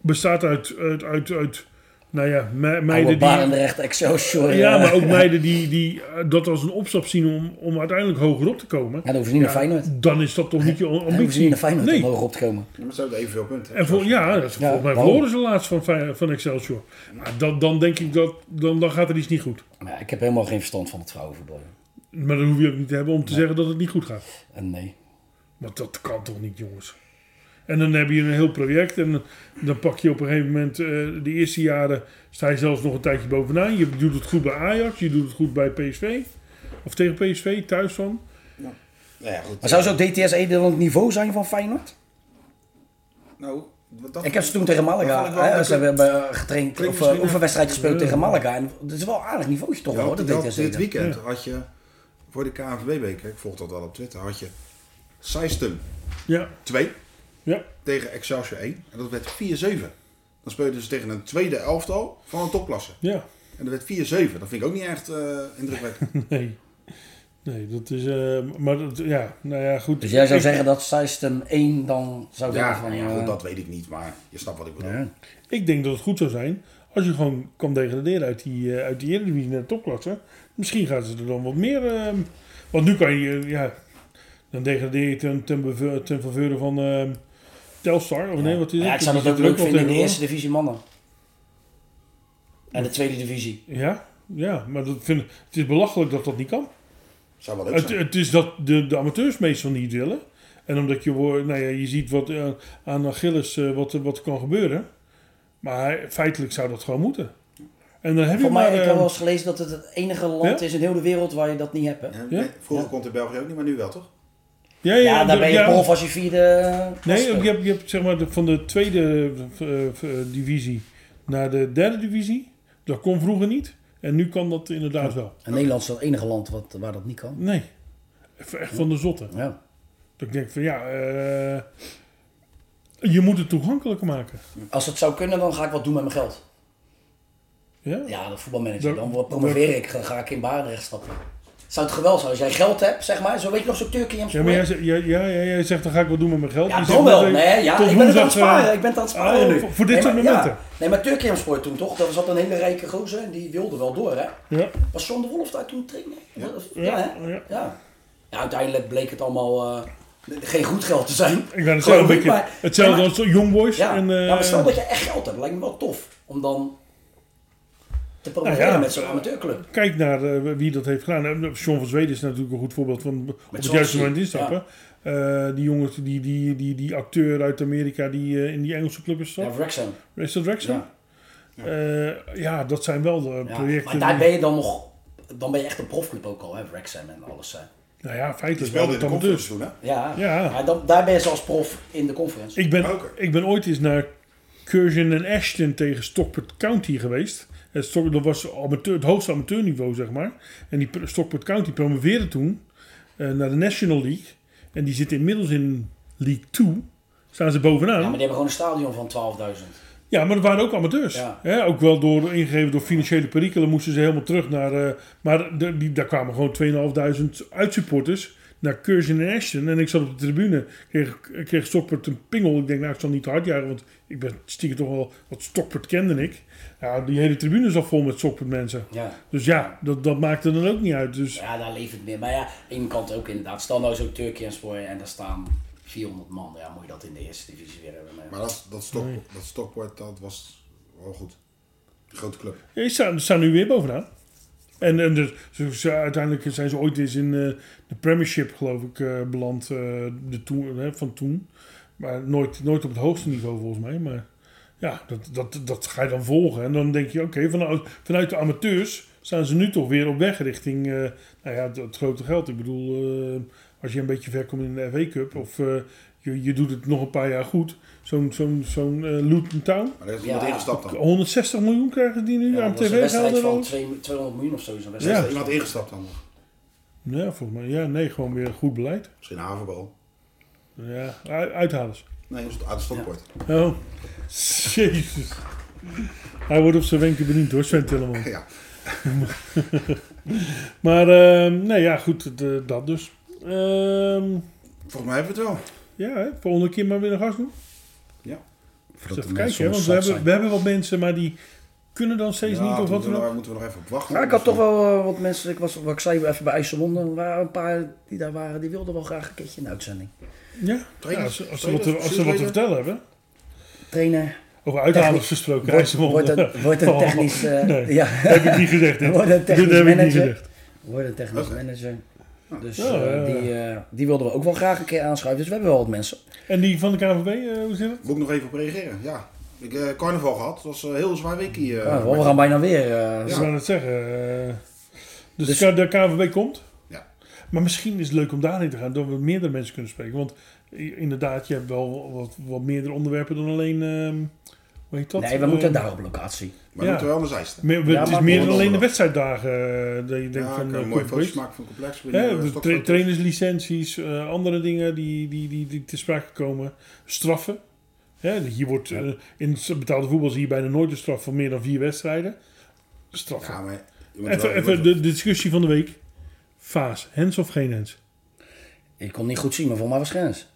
Speaker 2: bestaat uit, uit, uit, uit nou ja, me-
Speaker 4: Oude
Speaker 2: meiden die...
Speaker 4: Barendrecht, Excelsior.
Speaker 2: Ja,
Speaker 4: eh.
Speaker 2: maar ook meiden die, die eh, dat als een opstap zien om, om uiteindelijk hoger op te komen.
Speaker 4: Ja, dan hoeven ze niet naar Feyenoord. Dan
Speaker 2: Dan is dat toch niet je
Speaker 4: hoeven ze niet
Speaker 2: ambitie?
Speaker 4: naar Feyenoord
Speaker 2: Nee.
Speaker 4: om hoog op te komen.
Speaker 3: Ja, maar ze hebben evenveel punten. Nou,
Speaker 2: En voor, ja, dat, volgens mij
Speaker 4: waarom?
Speaker 2: verloren ze laatst van, Fey- van Excelsior. Maar dan, dan denk ik dat, dan, dan gaat er iets niet goed.
Speaker 4: Maar ja, ik heb helemaal geen verstand van het vrouwenvoetbal. joh.
Speaker 2: Maar dan hoef je ook niet te hebben om te zeggen dat het niet goed gaat.
Speaker 4: En nee.
Speaker 2: Want dat kan toch niet, jongens? En dan heb je een heel project en dan pak je op een gegeven moment, eh, de eerste jaren sta je zelfs nog een tijdje bovenaan. Je doet het goed bij Ajax, je doet het goed bij PSV. Of tegen PSV, thuis van.
Speaker 3: Nou ja, goed.
Speaker 4: Maar zou zo DTS Ede E dan het niveau zijn van Feyenoord?
Speaker 3: Nou, wat dat
Speaker 4: Ik heb ze toen tegen Malaga.
Speaker 3: Dat vond ik wel
Speaker 4: hè,
Speaker 3: leuk.
Speaker 4: Ze hebben getraind
Speaker 3: Klinkt
Speaker 4: of
Speaker 3: misschien,
Speaker 4: eh,
Speaker 3: eh,
Speaker 4: oefenwedstrijd gespeeld tegen Malaga. En dat is wel een aardig niveautje toch
Speaker 3: Ja,
Speaker 4: hoor, dat
Speaker 3: dat-
Speaker 4: DTS
Speaker 3: dit
Speaker 4: Ede.
Speaker 3: weekend had je voor de KNVB-beker, ik volg dat wel op Twitter, had je Seistum
Speaker 2: Ja,
Speaker 3: 2
Speaker 2: ja.
Speaker 3: tegen Excelsior 1. En dat werd 4-7. Dan speelden ze tegen een tweede elftal van een topklasse.
Speaker 2: Ja,
Speaker 3: En dat werd 4-7. Dat vind ik ook niet echt eh, indrukwekkend.
Speaker 2: nee. Nee, dat is... eh, maar dat, ja, nou ja, goed.
Speaker 4: Dus jij zou
Speaker 2: Ik-
Speaker 4: zeggen dat System 1 dan zou
Speaker 3: ja,
Speaker 4: zeggen van...
Speaker 3: nou ja,
Speaker 4: eh,
Speaker 3: goed, dat weet ik niet, maar je snapt wat ik bedoel.
Speaker 4: ja.
Speaker 2: Ik denk dat het goed zou zijn als je gewoon kan degraderen uit die, eh, uit die Eredivisie naar de topklasse. Misschien gaan ze er dan wat meer... ehm, want nu kan je... eh, ja, dan degradeer je ten, ten, beve- ten faveur van ehm, Telstar. Of nee, wat is
Speaker 4: Ja,
Speaker 2: het?
Speaker 4: ik zou
Speaker 2: Die
Speaker 4: dat ook
Speaker 2: zit er
Speaker 4: leuk
Speaker 2: wel
Speaker 4: vinden in de eerste
Speaker 2: tegenover.
Speaker 4: divisie mannen. En de tweede divisie.
Speaker 2: Ja, ja maar dat vind, het is belachelijk dat dat niet kan.
Speaker 3: Zou wel leuk
Speaker 2: Het,
Speaker 3: zijn.
Speaker 2: het is dat de, de amateurs meestal niet willen. En omdat je, wo- nou ja, je ziet wat, eh, aan Achilles eh, wat, wat kan gebeuren. Maar feitelijk zou dat gewoon moeten. En dan heb je
Speaker 4: Voor
Speaker 2: maar...
Speaker 4: mij, ik heb
Speaker 2: eh,
Speaker 4: wel eens gelezen dat het het enige land
Speaker 2: Ja?
Speaker 4: is in heel de wereld waar je dat niet hebt. Hè?
Speaker 3: Ja,
Speaker 2: eh, Ja?
Speaker 3: nee, vroeger kon het in België ook niet, maar nu wel toch?
Speaker 2: Ja,
Speaker 4: Ja, daar
Speaker 2: de-
Speaker 4: ben je
Speaker 2: ja.
Speaker 4: prof als je vierde... eh,
Speaker 2: Nee,
Speaker 4: klasse
Speaker 2: je hebt, je hebt zeg maar de- van de tweede eh, eh, divisie naar de derde divisie. Dat kon vroeger niet. En nu kan dat inderdaad wel.
Speaker 4: En Nederland is het enige land wat, waar dat niet kan.
Speaker 2: Nee. Even Echt van de zotte.
Speaker 4: Ja.
Speaker 2: Dat ik denk van ja, eh, je moet het toegankelijker maken.
Speaker 4: Als het zou kunnen, dan ga ik wat doen met mijn geld.
Speaker 2: Ja?
Speaker 4: Ja, de voetbalmanager.
Speaker 2: Dat-
Speaker 4: Dan promoveer ik, dan ga ik in Barendrecht stappen. Zou het geweldig zijn als jij geld hebt, zeg maar. Zo weet je nog zo'n Turkey in
Speaker 2: Ja, maar jij, zegt- ja, ja, ja, jij zegt dan ga ik wat doen met mijn geld.
Speaker 4: Ja,
Speaker 2: Je
Speaker 4: toch
Speaker 2: zegt,
Speaker 4: wel.
Speaker 2: dat-
Speaker 4: Nee, ja,
Speaker 2: tot
Speaker 4: ik ben het aan het
Speaker 2: woensdag, eh,
Speaker 4: sparen. Ik ben het aan het sparen
Speaker 2: oh,
Speaker 4: nu.
Speaker 2: voor- voor dit
Speaker 4: nee,
Speaker 2: soort
Speaker 4: maar-
Speaker 2: momenten.
Speaker 4: Ja. Nee, maar Turkey Sport toen toch? Dat was altijd een hele rijke gozer en die wilde wel door, hè?
Speaker 2: Ja.
Speaker 4: Was John de Wolf daar toen trainer? Ja,
Speaker 2: Ja,
Speaker 4: hè?
Speaker 2: ja.
Speaker 4: ja. Ja, uiteindelijk bleek het allemaal eh, geen goed geld te zijn.
Speaker 2: Ik ben het
Speaker 4: Geloof
Speaker 2: een beetje
Speaker 4: maar-
Speaker 2: hetzelfde
Speaker 4: Ja, maar-
Speaker 2: als Young Boys.
Speaker 4: Ja,
Speaker 2: en, eh,
Speaker 4: ja, maar stel dat je echt geld hebt, lijkt me wel tof om dan te promoveren
Speaker 2: Nou ja,
Speaker 4: met zo'n amateurclub.
Speaker 2: Kijk naar eh, wie dat heeft gedaan. Nou, John van Zweden is natuurlijk een goed voorbeeld van op het
Speaker 4: Chelsea,
Speaker 2: juiste moment instappen. Eh, die jongens, die, die, die, die acteur uit Amerika die eh, in die Engelse club is
Speaker 4: Ja,
Speaker 2: zat.
Speaker 4: Wrexham.
Speaker 2: Is dat Wrexham?
Speaker 4: Ja.
Speaker 2: Eh, ja, dat zijn wel de
Speaker 4: Ja,
Speaker 2: projecten.
Speaker 4: Maar daar
Speaker 2: die-
Speaker 4: ben je dan nog, dan ben je echt een profclub ook al, hè, Wrexham en alles. hè.
Speaker 2: Nou ja,
Speaker 3: Die
Speaker 2: feitelijk wel
Speaker 3: speelde in
Speaker 2: het
Speaker 3: de
Speaker 2: dan
Speaker 3: conference
Speaker 2: dus.
Speaker 3: toen, hè?
Speaker 4: Ja,
Speaker 2: Ja.
Speaker 4: Maar dan, daar ben je zelfs prof in de conference.
Speaker 2: Ik ben,
Speaker 3: Oké.
Speaker 2: ik ben ooit eens naar Curzon en Ashton tegen Stockport County geweest. En Stock- dat was amateur, het hoogste amateurniveau, zeg maar. En die pr- Stockport County promoveerde toen eh, naar de National League. En die zitten inmiddels in League 2. Staan ze bovenaan.
Speaker 4: Ja, maar die hebben gewoon een stadion van 12.000.
Speaker 2: dat waren ook amateurs.
Speaker 4: Ja.
Speaker 2: Hè, ook wel door, ingegeven door financiële perikelen moesten ze helemaal terug naar... eh, maar de, die, daar kwamen gewoon 2.500 uitsupporters naar Curzon en Ashton. En ik zat op de tribune, kreeg, kreeg Stockport een pingel. Ik denk, nou, ik zal niet te hard jagen, want ik ben stiekem toch wel... Wat Stockport kende ik. Ja, die hele tribune zat vol met Stockport mensen.
Speaker 4: Ja.
Speaker 2: Dus ja, dat, dat maakte dan ook niet uit. Dus
Speaker 4: Ja, daar leeft het meer. Maar ja, aan de ene kant ook inderdaad. Stel nou zo'n Turkey en Spoor en daar staan 400 man. Ja, moet je dat in de eerste divisie weer hebben. Maar,
Speaker 3: Maar dat, dat, stok, dat Stockport, dat was wel goed. Grote club.
Speaker 2: Ja, ze staan, ze staan nu weer bovenaan. En, en dus, ze- ze- uiteindelijk zijn ze ooit eens in eh, de Premiership, geloof ik, eh, beland. eh, de toen, hè, van toen. Maar nooit, nooit op het hoogste niveau, volgens mij. Maar ja, dat, dat, dat ga je dan volgen. En dan denk je, oké, vanuit, vanuit de amateurs staan ze nu toch weer op weg richting eh, nou ja, het, het grote geld. Ik bedoel, eh, als je een beetje ver komt in de FA Cup... of eh, je, je doet het nog een paar jaar goed... zo'n zo'n zo'n eh, Luton Town...
Speaker 3: Maar daar is
Speaker 4: Ja.
Speaker 3: iemand ingestapt dan.
Speaker 2: 160 miljoen krijgen die nu
Speaker 4: ja,
Speaker 2: aan
Speaker 4: dat was een wedstrijd
Speaker 2: tv-gelden.
Speaker 4: van
Speaker 2: al?
Speaker 4: twee- 200 miljoen of zo. Zo'n
Speaker 3: Daar
Speaker 4: wedstrijd.
Speaker 3: is iemand ingestapt dan.
Speaker 2: Ja, volgens mij. Ja, nee, gewoon weer goed beleid.
Speaker 3: Misschien een havenbal.
Speaker 2: Ja, u- uithalers.
Speaker 3: Nee, dat is het uit Stockport.
Speaker 2: Oh, jezus. Hij wordt op zijn wenken bediend hoor, Sven Tilleman.
Speaker 3: Ja.
Speaker 2: Maar, ehm, nee, ja, goed, het, eh, dat dus. Ehm,
Speaker 3: Volgens mij hebben we het wel.
Speaker 2: ja, hè, volgende keer maar weer een gast doen.
Speaker 3: Voordat de
Speaker 2: even kijken,
Speaker 3: mensen
Speaker 2: hè, want we
Speaker 3: onderschat
Speaker 2: hebben,
Speaker 3: zijn.
Speaker 2: we hebben wat mensen, maar die kunnen dan steeds
Speaker 3: Ja,
Speaker 2: niet of
Speaker 3: daar
Speaker 2: wat dan ook.
Speaker 3: moeten we nog even op wachten. Dus,
Speaker 4: Maar ik had toch wel eh, wat mensen, ik was, wat ik zei even bij IJsselmonde, er waren een paar die daar waren, die wilden wel graag een keertje in de uitzending.
Speaker 2: Ja, ja,
Speaker 3: Trainers,
Speaker 2: als, als ze wat, te- als ze wat te
Speaker 3: trainers,
Speaker 2: vertellen hebben.
Speaker 4: Trainer,
Speaker 2: Over uithalers
Speaker 4: Technisch.
Speaker 2: gesproken.
Speaker 4: wordt,
Speaker 2: IJsselmonde.
Speaker 4: wordt, een, wordt een
Speaker 2: Oh,
Speaker 4: technisch, eh,
Speaker 2: nee.
Speaker 4: ja,
Speaker 2: Heb ik niet gezegd. dit.
Speaker 4: Wordt een
Speaker 2: Dit
Speaker 4: technisch
Speaker 2: heb ik niet
Speaker 4: manager.
Speaker 2: gezegd.
Speaker 4: wordt een technisch
Speaker 3: Oké. Ah.
Speaker 4: manager. Dus
Speaker 2: Ja,
Speaker 4: eh,
Speaker 2: ja, ja.
Speaker 4: Die, eh, die wilden we ook wel graag een keer aanschuiven, dus we hebben wel wat mensen.
Speaker 2: En die van de KNVB, eh, hoe zit het?
Speaker 3: Moet ik nog even op reageren? Ja. Ik heb carnaval gehad. Dat was een heel zwaar weekie. eh,
Speaker 4: Ah, we gaan bijna weer. eh,
Speaker 2: Ik
Speaker 3: Ja.
Speaker 2: zou het zeggen. eh, dus
Speaker 4: Dus-
Speaker 2: de KVB komt.
Speaker 3: Ja.
Speaker 2: Maar misschien is het leuk om daarheen te gaan, dat we meerdere mensen kunnen spreken. Want i- inderdaad, je hebt wel wat, wat meerdere onderwerpen dan alleen. ehm, hoe heet dat?
Speaker 4: nee, we
Speaker 2: Eh,
Speaker 4: moeten daar op locatie.
Speaker 3: Maar
Speaker 2: Ja.
Speaker 3: we moeten wel naar Zeist.
Speaker 2: meer-
Speaker 4: Ja,
Speaker 2: het is
Speaker 4: maar-
Speaker 2: meer dan alleen de
Speaker 3: Donderdag.
Speaker 2: wedstrijddagen. eh, dat je denkt
Speaker 3: Ja,
Speaker 2: van.
Speaker 3: ik heb
Speaker 2: eh,
Speaker 3: een mooie
Speaker 2: goed,
Speaker 3: foto's
Speaker 2: goed.
Speaker 3: maken van het complex. Wil je,
Speaker 2: Hè,
Speaker 3: eh,
Speaker 2: de dus tra-
Speaker 3: stokfoto's?
Speaker 2: trainerslicenties, eh, andere dingen die, die, die, die te sprake komen. Straffen. Hè, hier wordt, eh, in het betaalde voetbal zie je bijna nooit een straf van meer dan vier wedstrijden. Straffen.
Speaker 3: Ja, maar... je moet wel-
Speaker 2: Even,
Speaker 3: je moet
Speaker 2: even
Speaker 3: wel-
Speaker 2: de discussie van de week. Vaas, hens of geen hens?
Speaker 4: Ik kon niet goed zien, maar voor mij was grens.
Speaker 2: Dat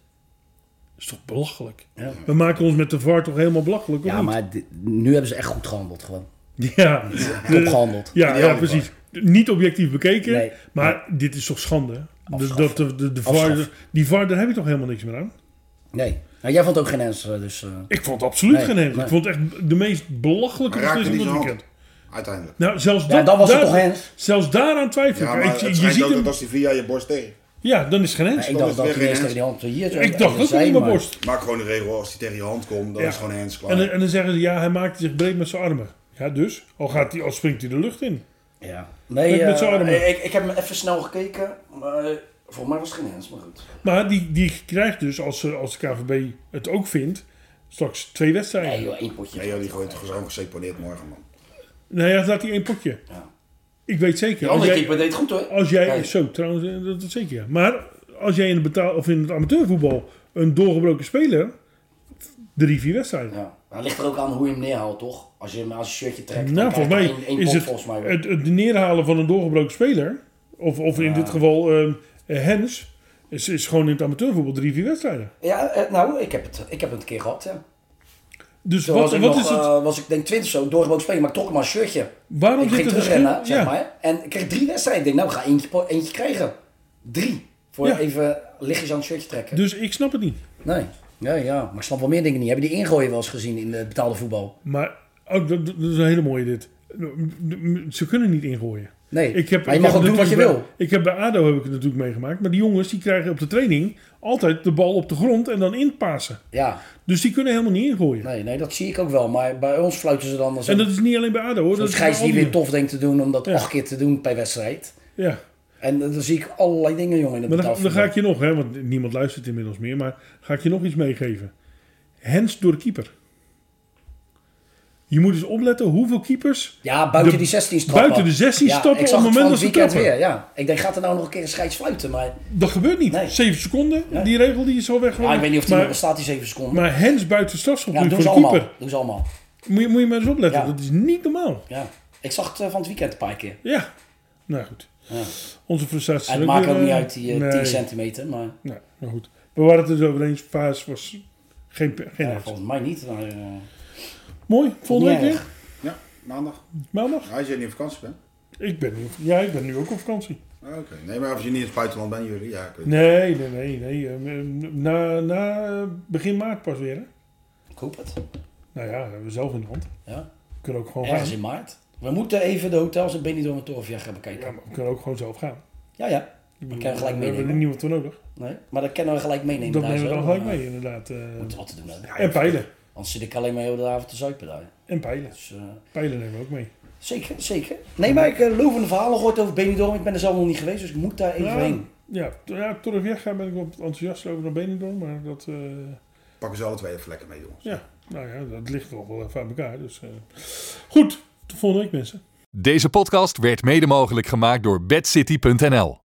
Speaker 2: is toch belachelijk?
Speaker 4: Ja.
Speaker 2: We maken ons met de VAR toch helemaal belachelijk, of
Speaker 4: Ja,
Speaker 2: niet?
Speaker 4: maar di- nu hebben ze echt goed gehandeld gewoon.
Speaker 2: Ja,
Speaker 4: Top gehandeld.
Speaker 2: ja, ja,
Speaker 3: Ideaal niet
Speaker 2: precies. Niet objectief bekeken,
Speaker 4: Nee.
Speaker 2: maar dit is toch schande? Dus
Speaker 4: Afschaffen.
Speaker 2: dat de, de, de
Speaker 4: Afschaffen.
Speaker 2: VAR, die VAR, daar heb je toch helemaal niks meer aan?
Speaker 4: Nee. Nou, jij vond ook geen hens, eh, dus... eh,
Speaker 2: Ik vond het absoluut
Speaker 4: Nee,
Speaker 2: geen hens.
Speaker 4: nee.
Speaker 2: Ik vond het echt de meest belachelijke
Speaker 3: Maar raakte
Speaker 2: beslissing
Speaker 3: niet
Speaker 2: van het
Speaker 3: zijn
Speaker 2: weekend.
Speaker 3: Uiteindelijk.
Speaker 2: Nou, zelfs
Speaker 4: ja,
Speaker 2: dat,
Speaker 4: dan was het
Speaker 2: daar-
Speaker 4: toch hens?
Speaker 2: Zelfs daaraan twijfel ik.
Speaker 3: Ja, maar
Speaker 2: Ik-
Speaker 3: het
Speaker 2: je,
Speaker 3: schijnt
Speaker 2: ziet
Speaker 3: ook
Speaker 2: hem,
Speaker 3: dat als hij via je borst tegen...
Speaker 2: ja, dan is het geen hens.
Speaker 4: Nee, ik dacht
Speaker 3: is
Speaker 4: dat
Speaker 3: weer
Speaker 4: hij
Speaker 3: geen
Speaker 4: eerst
Speaker 3: hens.
Speaker 4: tegen die hand hier... zo-
Speaker 2: ik dacht ook
Speaker 4: zei,
Speaker 2: niet mijn
Speaker 4: maar-
Speaker 2: borst.
Speaker 3: Maak gewoon de regel, als hij tegen je hand komt, dan
Speaker 2: Ja.
Speaker 3: is het gewoon hands klaar.
Speaker 2: En, dan- en dan zeggen ze, ja, hij maakt zich breed met zijn armen. Ja, dus? Al, gaat hij, al springt hij de lucht in.
Speaker 4: Ja. Nee,
Speaker 2: Met- met
Speaker 4: eh,
Speaker 2: zijn armen.
Speaker 4: ik, ik heb hem even snel gekeken, maar eh, voor mij was het geen hens, maar goed.
Speaker 2: Maar die, die krijgt dus, als, ze- als de KVB het ook vindt, straks twee wedstrijden.
Speaker 4: Nee joh, één potje.
Speaker 3: Nee joh, die gooit gewoon geseponeerd morgen, man.
Speaker 2: Nee, hij laat hij één potje.
Speaker 4: Ja.
Speaker 2: Ik weet zeker.
Speaker 4: Die
Speaker 2: Als
Speaker 4: andere
Speaker 2: jij,
Speaker 4: keeper deed het goed hoor.
Speaker 2: als jij
Speaker 4: Nee.
Speaker 2: zo trouwens, eh, dat, dat zeker. ja. Maar als jij in het, betaal, of in het amateurvoetbal een doorgebroken speler, drie, vier wedstrijden.
Speaker 4: Ja. Maar het ligt er ook aan hoe je hem neerhaalt, toch? Als je hem aan zijn shirtje trekt, dan
Speaker 2: Nou, volgens mij
Speaker 4: krijgt hij één, één
Speaker 2: is
Speaker 4: pot,
Speaker 2: het,
Speaker 4: volgens mij.
Speaker 2: het, het neerhalen van een doorgebroken speler, of, of in dit geval ehm, eh, Hens, is, is gewoon in het amateurvoetbal drie, vier wedstrijden.
Speaker 4: Ja, eh, nou, ik heb, het, ik heb het een keer gehad, ja.
Speaker 2: Dus
Speaker 4: Toen
Speaker 2: wat,
Speaker 4: was ik,
Speaker 2: wat
Speaker 4: nog,
Speaker 2: is het?
Speaker 4: eh, was ik denk 20 zo, doorgebroken spelen, maar ik trok maar een shirtje.
Speaker 2: waarom
Speaker 4: ik
Speaker 2: zit
Speaker 4: ging
Speaker 2: er verschil?
Speaker 4: terugrennen, zeg
Speaker 2: ja.
Speaker 4: maar. En ik kreeg drie wedstrijden. Ik denk, nou, ik ga eentje, po- eentje krijgen. Drie. Voor
Speaker 2: Ja.
Speaker 4: even lichtjes aan het shirtje trekken.
Speaker 2: Dus ik snap het niet.
Speaker 4: Nee. Ja, ja. Maar ik snap wel meer dingen niet. Hebben die ingooien wel eens gezien in de betaalde voetbal?
Speaker 2: Maar oh, dat, dat is een hele mooie dit. Ze kunnen niet ingooien.
Speaker 4: Nee.
Speaker 2: Ik heb,
Speaker 4: maar je
Speaker 2: ik
Speaker 4: mag
Speaker 2: heb
Speaker 4: ook doen wat je
Speaker 2: natuurlijk
Speaker 4: wil.
Speaker 2: bij- Ik heb bij ADO heb ik het natuurlijk meegemaakt. Maar die jongens die krijgen op de training altijd de bal op de grond en dan inpassen.
Speaker 4: Ja.
Speaker 2: Dus die kunnen helemaal niet ingooien.
Speaker 4: Nee, nee, dat zie ik ook wel. Maar bij ons fluiten ze dan als
Speaker 2: En
Speaker 4: een
Speaker 2: dat is niet alleen bij ADO hoor. Dat
Speaker 4: dat
Speaker 2: is
Speaker 4: scheids
Speaker 2: bij
Speaker 4: die
Speaker 2: al
Speaker 4: weer tof denkt te doen om dat
Speaker 2: Ja.
Speaker 4: acht keer te doen per wedstrijd.
Speaker 2: Ja.
Speaker 4: En eh, dan zie ik allerlei dingen, jongen, in het
Speaker 2: Maar dan, dan
Speaker 4: betaalvoetbal.
Speaker 2: ga ik je nog, hè, want niemand luistert inmiddels meer. Maar ga ik je nog iets meegeven. Hens door de keeper. Je moet eens opletten hoeveel keepers...
Speaker 4: Ja, buiten
Speaker 2: de-
Speaker 4: die 16 stappen.
Speaker 2: buiten de 16
Speaker 4: ja,
Speaker 2: stappen
Speaker 4: ik zag
Speaker 2: op het
Speaker 4: van
Speaker 2: moment dat ze
Speaker 4: weekend
Speaker 2: trappen.
Speaker 4: weer, ja. Ik denk, gaat er nou nog een keer een scheids fluiten? Maar
Speaker 2: Dat gebeurt niet.
Speaker 4: Nee.
Speaker 2: Zeven seconden.
Speaker 4: Nee.
Speaker 2: Die regel die is al weg.
Speaker 4: ja, ik weet niet of die nog
Speaker 2: maar,
Speaker 4: bestaat, die 7 seconden.
Speaker 2: maar Hens buiten strafschopgebied
Speaker 4: ja, doen
Speaker 2: voor
Speaker 4: ze
Speaker 2: de
Speaker 4: allemaal.
Speaker 2: keeper.
Speaker 4: Doen ze allemaal.
Speaker 2: Moet je, moet je maar eens opletten.
Speaker 4: Ja.
Speaker 2: Dat is niet normaal.
Speaker 4: Ja. Ik zag het eh, van het weekend een paar keer.
Speaker 2: Ja. Nou goed.
Speaker 4: Ja.
Speaker 2: Onze frustratie.
Speaker 4: En het maakt
Speaker 2: weer,
Speaker 4: ook niet
Speaker 2: eh,
Speaker 4: uit, die eh,
Speaker 2: nee.
Speaker 4: 10 centimeter. Maar
Speaker 2: Nee, maar goed. We waren het dus over eens. Vaas was geen, geen
Speaker 4: ja,
Speaker 2: hens.
Speaker 4: volgens mij niet. Maar, eh,
Speaker 2: Mooi. Volgende
Speaker 4: niet
Speaker 2: week weer.
Speaker 4: erg.
Speaker 3: Ja, maandag.
Speaker 2: Maandag.
Speaker 3: Ja, als je niet op vakantie bent.
Speaker 2: Ik ben, nu, ja, ik ben nu ook op vakantie.
Speaker 3: Ah, Oké. Nee, maar als je niet in het buitenland bent, jullie. Ja, ik weet het.
Speaker 2: Nee, nee, nee. nee. Eh, Na, na eh, begin maart pas weer. Hè?
Speaker 4: Ik hoop het.
Speaker 2: Nou ja, we hebben zelf in de hand.
Speaker 4: Ja.
Speaker 2: We kunnen ook gewoon
Speaker 4: Ergens
Speaker 2: gaan.
Speaker 4: in maart. We moeten even de hotels in Benidorm en Torvia gaan
Speaker 2: Ja,
Speaker 4: bekijken.
Speaker 2: maar we kunnen ook gewoon zelf gaan.
Speaker 4: Ja, ja.
Speaker 2: Ik
Speaker 4: kan je gelijk
Speaker 2: we hebben er
Speaker 4: meenemen.
Speaker 2: niemand voor nodig.
Speaker 4: Nee, maar dat kunnen we gelijk meenemen.
Speaker 2: dat
Speaker 4: daar
Speaker 2: nemen we
Speaker 4: zo,
Speaker 2: dan gelijk
Speaker 4: maar,
Speaker 2: mee, inderdaad. eh.
Speaker 4: eh, Moeten we wat te doen hebben.
Speaker 2: en pijlen.
Speaker 4: Anders zit ik alleen maar heel de avond te zuipen daar.
Speaker 2: En pijlen.
Speaker 4: Dus, eh,
Speaker 2: Pijlen nemen we ook mee.
Speaker 4: zeker, zeker. Nee, maar ik eh lovende verhalen gehoord over Benidorm. Ik ben er zelf nog niet geweest, dus ik moet daar even
Speaker 2: Ja.
Speaker 4: heen.
Speaker 2: Ja, t- ja tot ik wegga ben ik wat enthousiast over naar Benidorm. Maar dat, eh,
Speaker 3: Pakken ze alle twee even lekker mee, jongens.
Speaker 2: ja, nou ja, dat ligt nog wel even aan elkaar. Dus, eh. Goed, tot volgende week mensen.
Speaker 1: Deze podcast werd mede mogelijk gemaakt door bedcity.nl.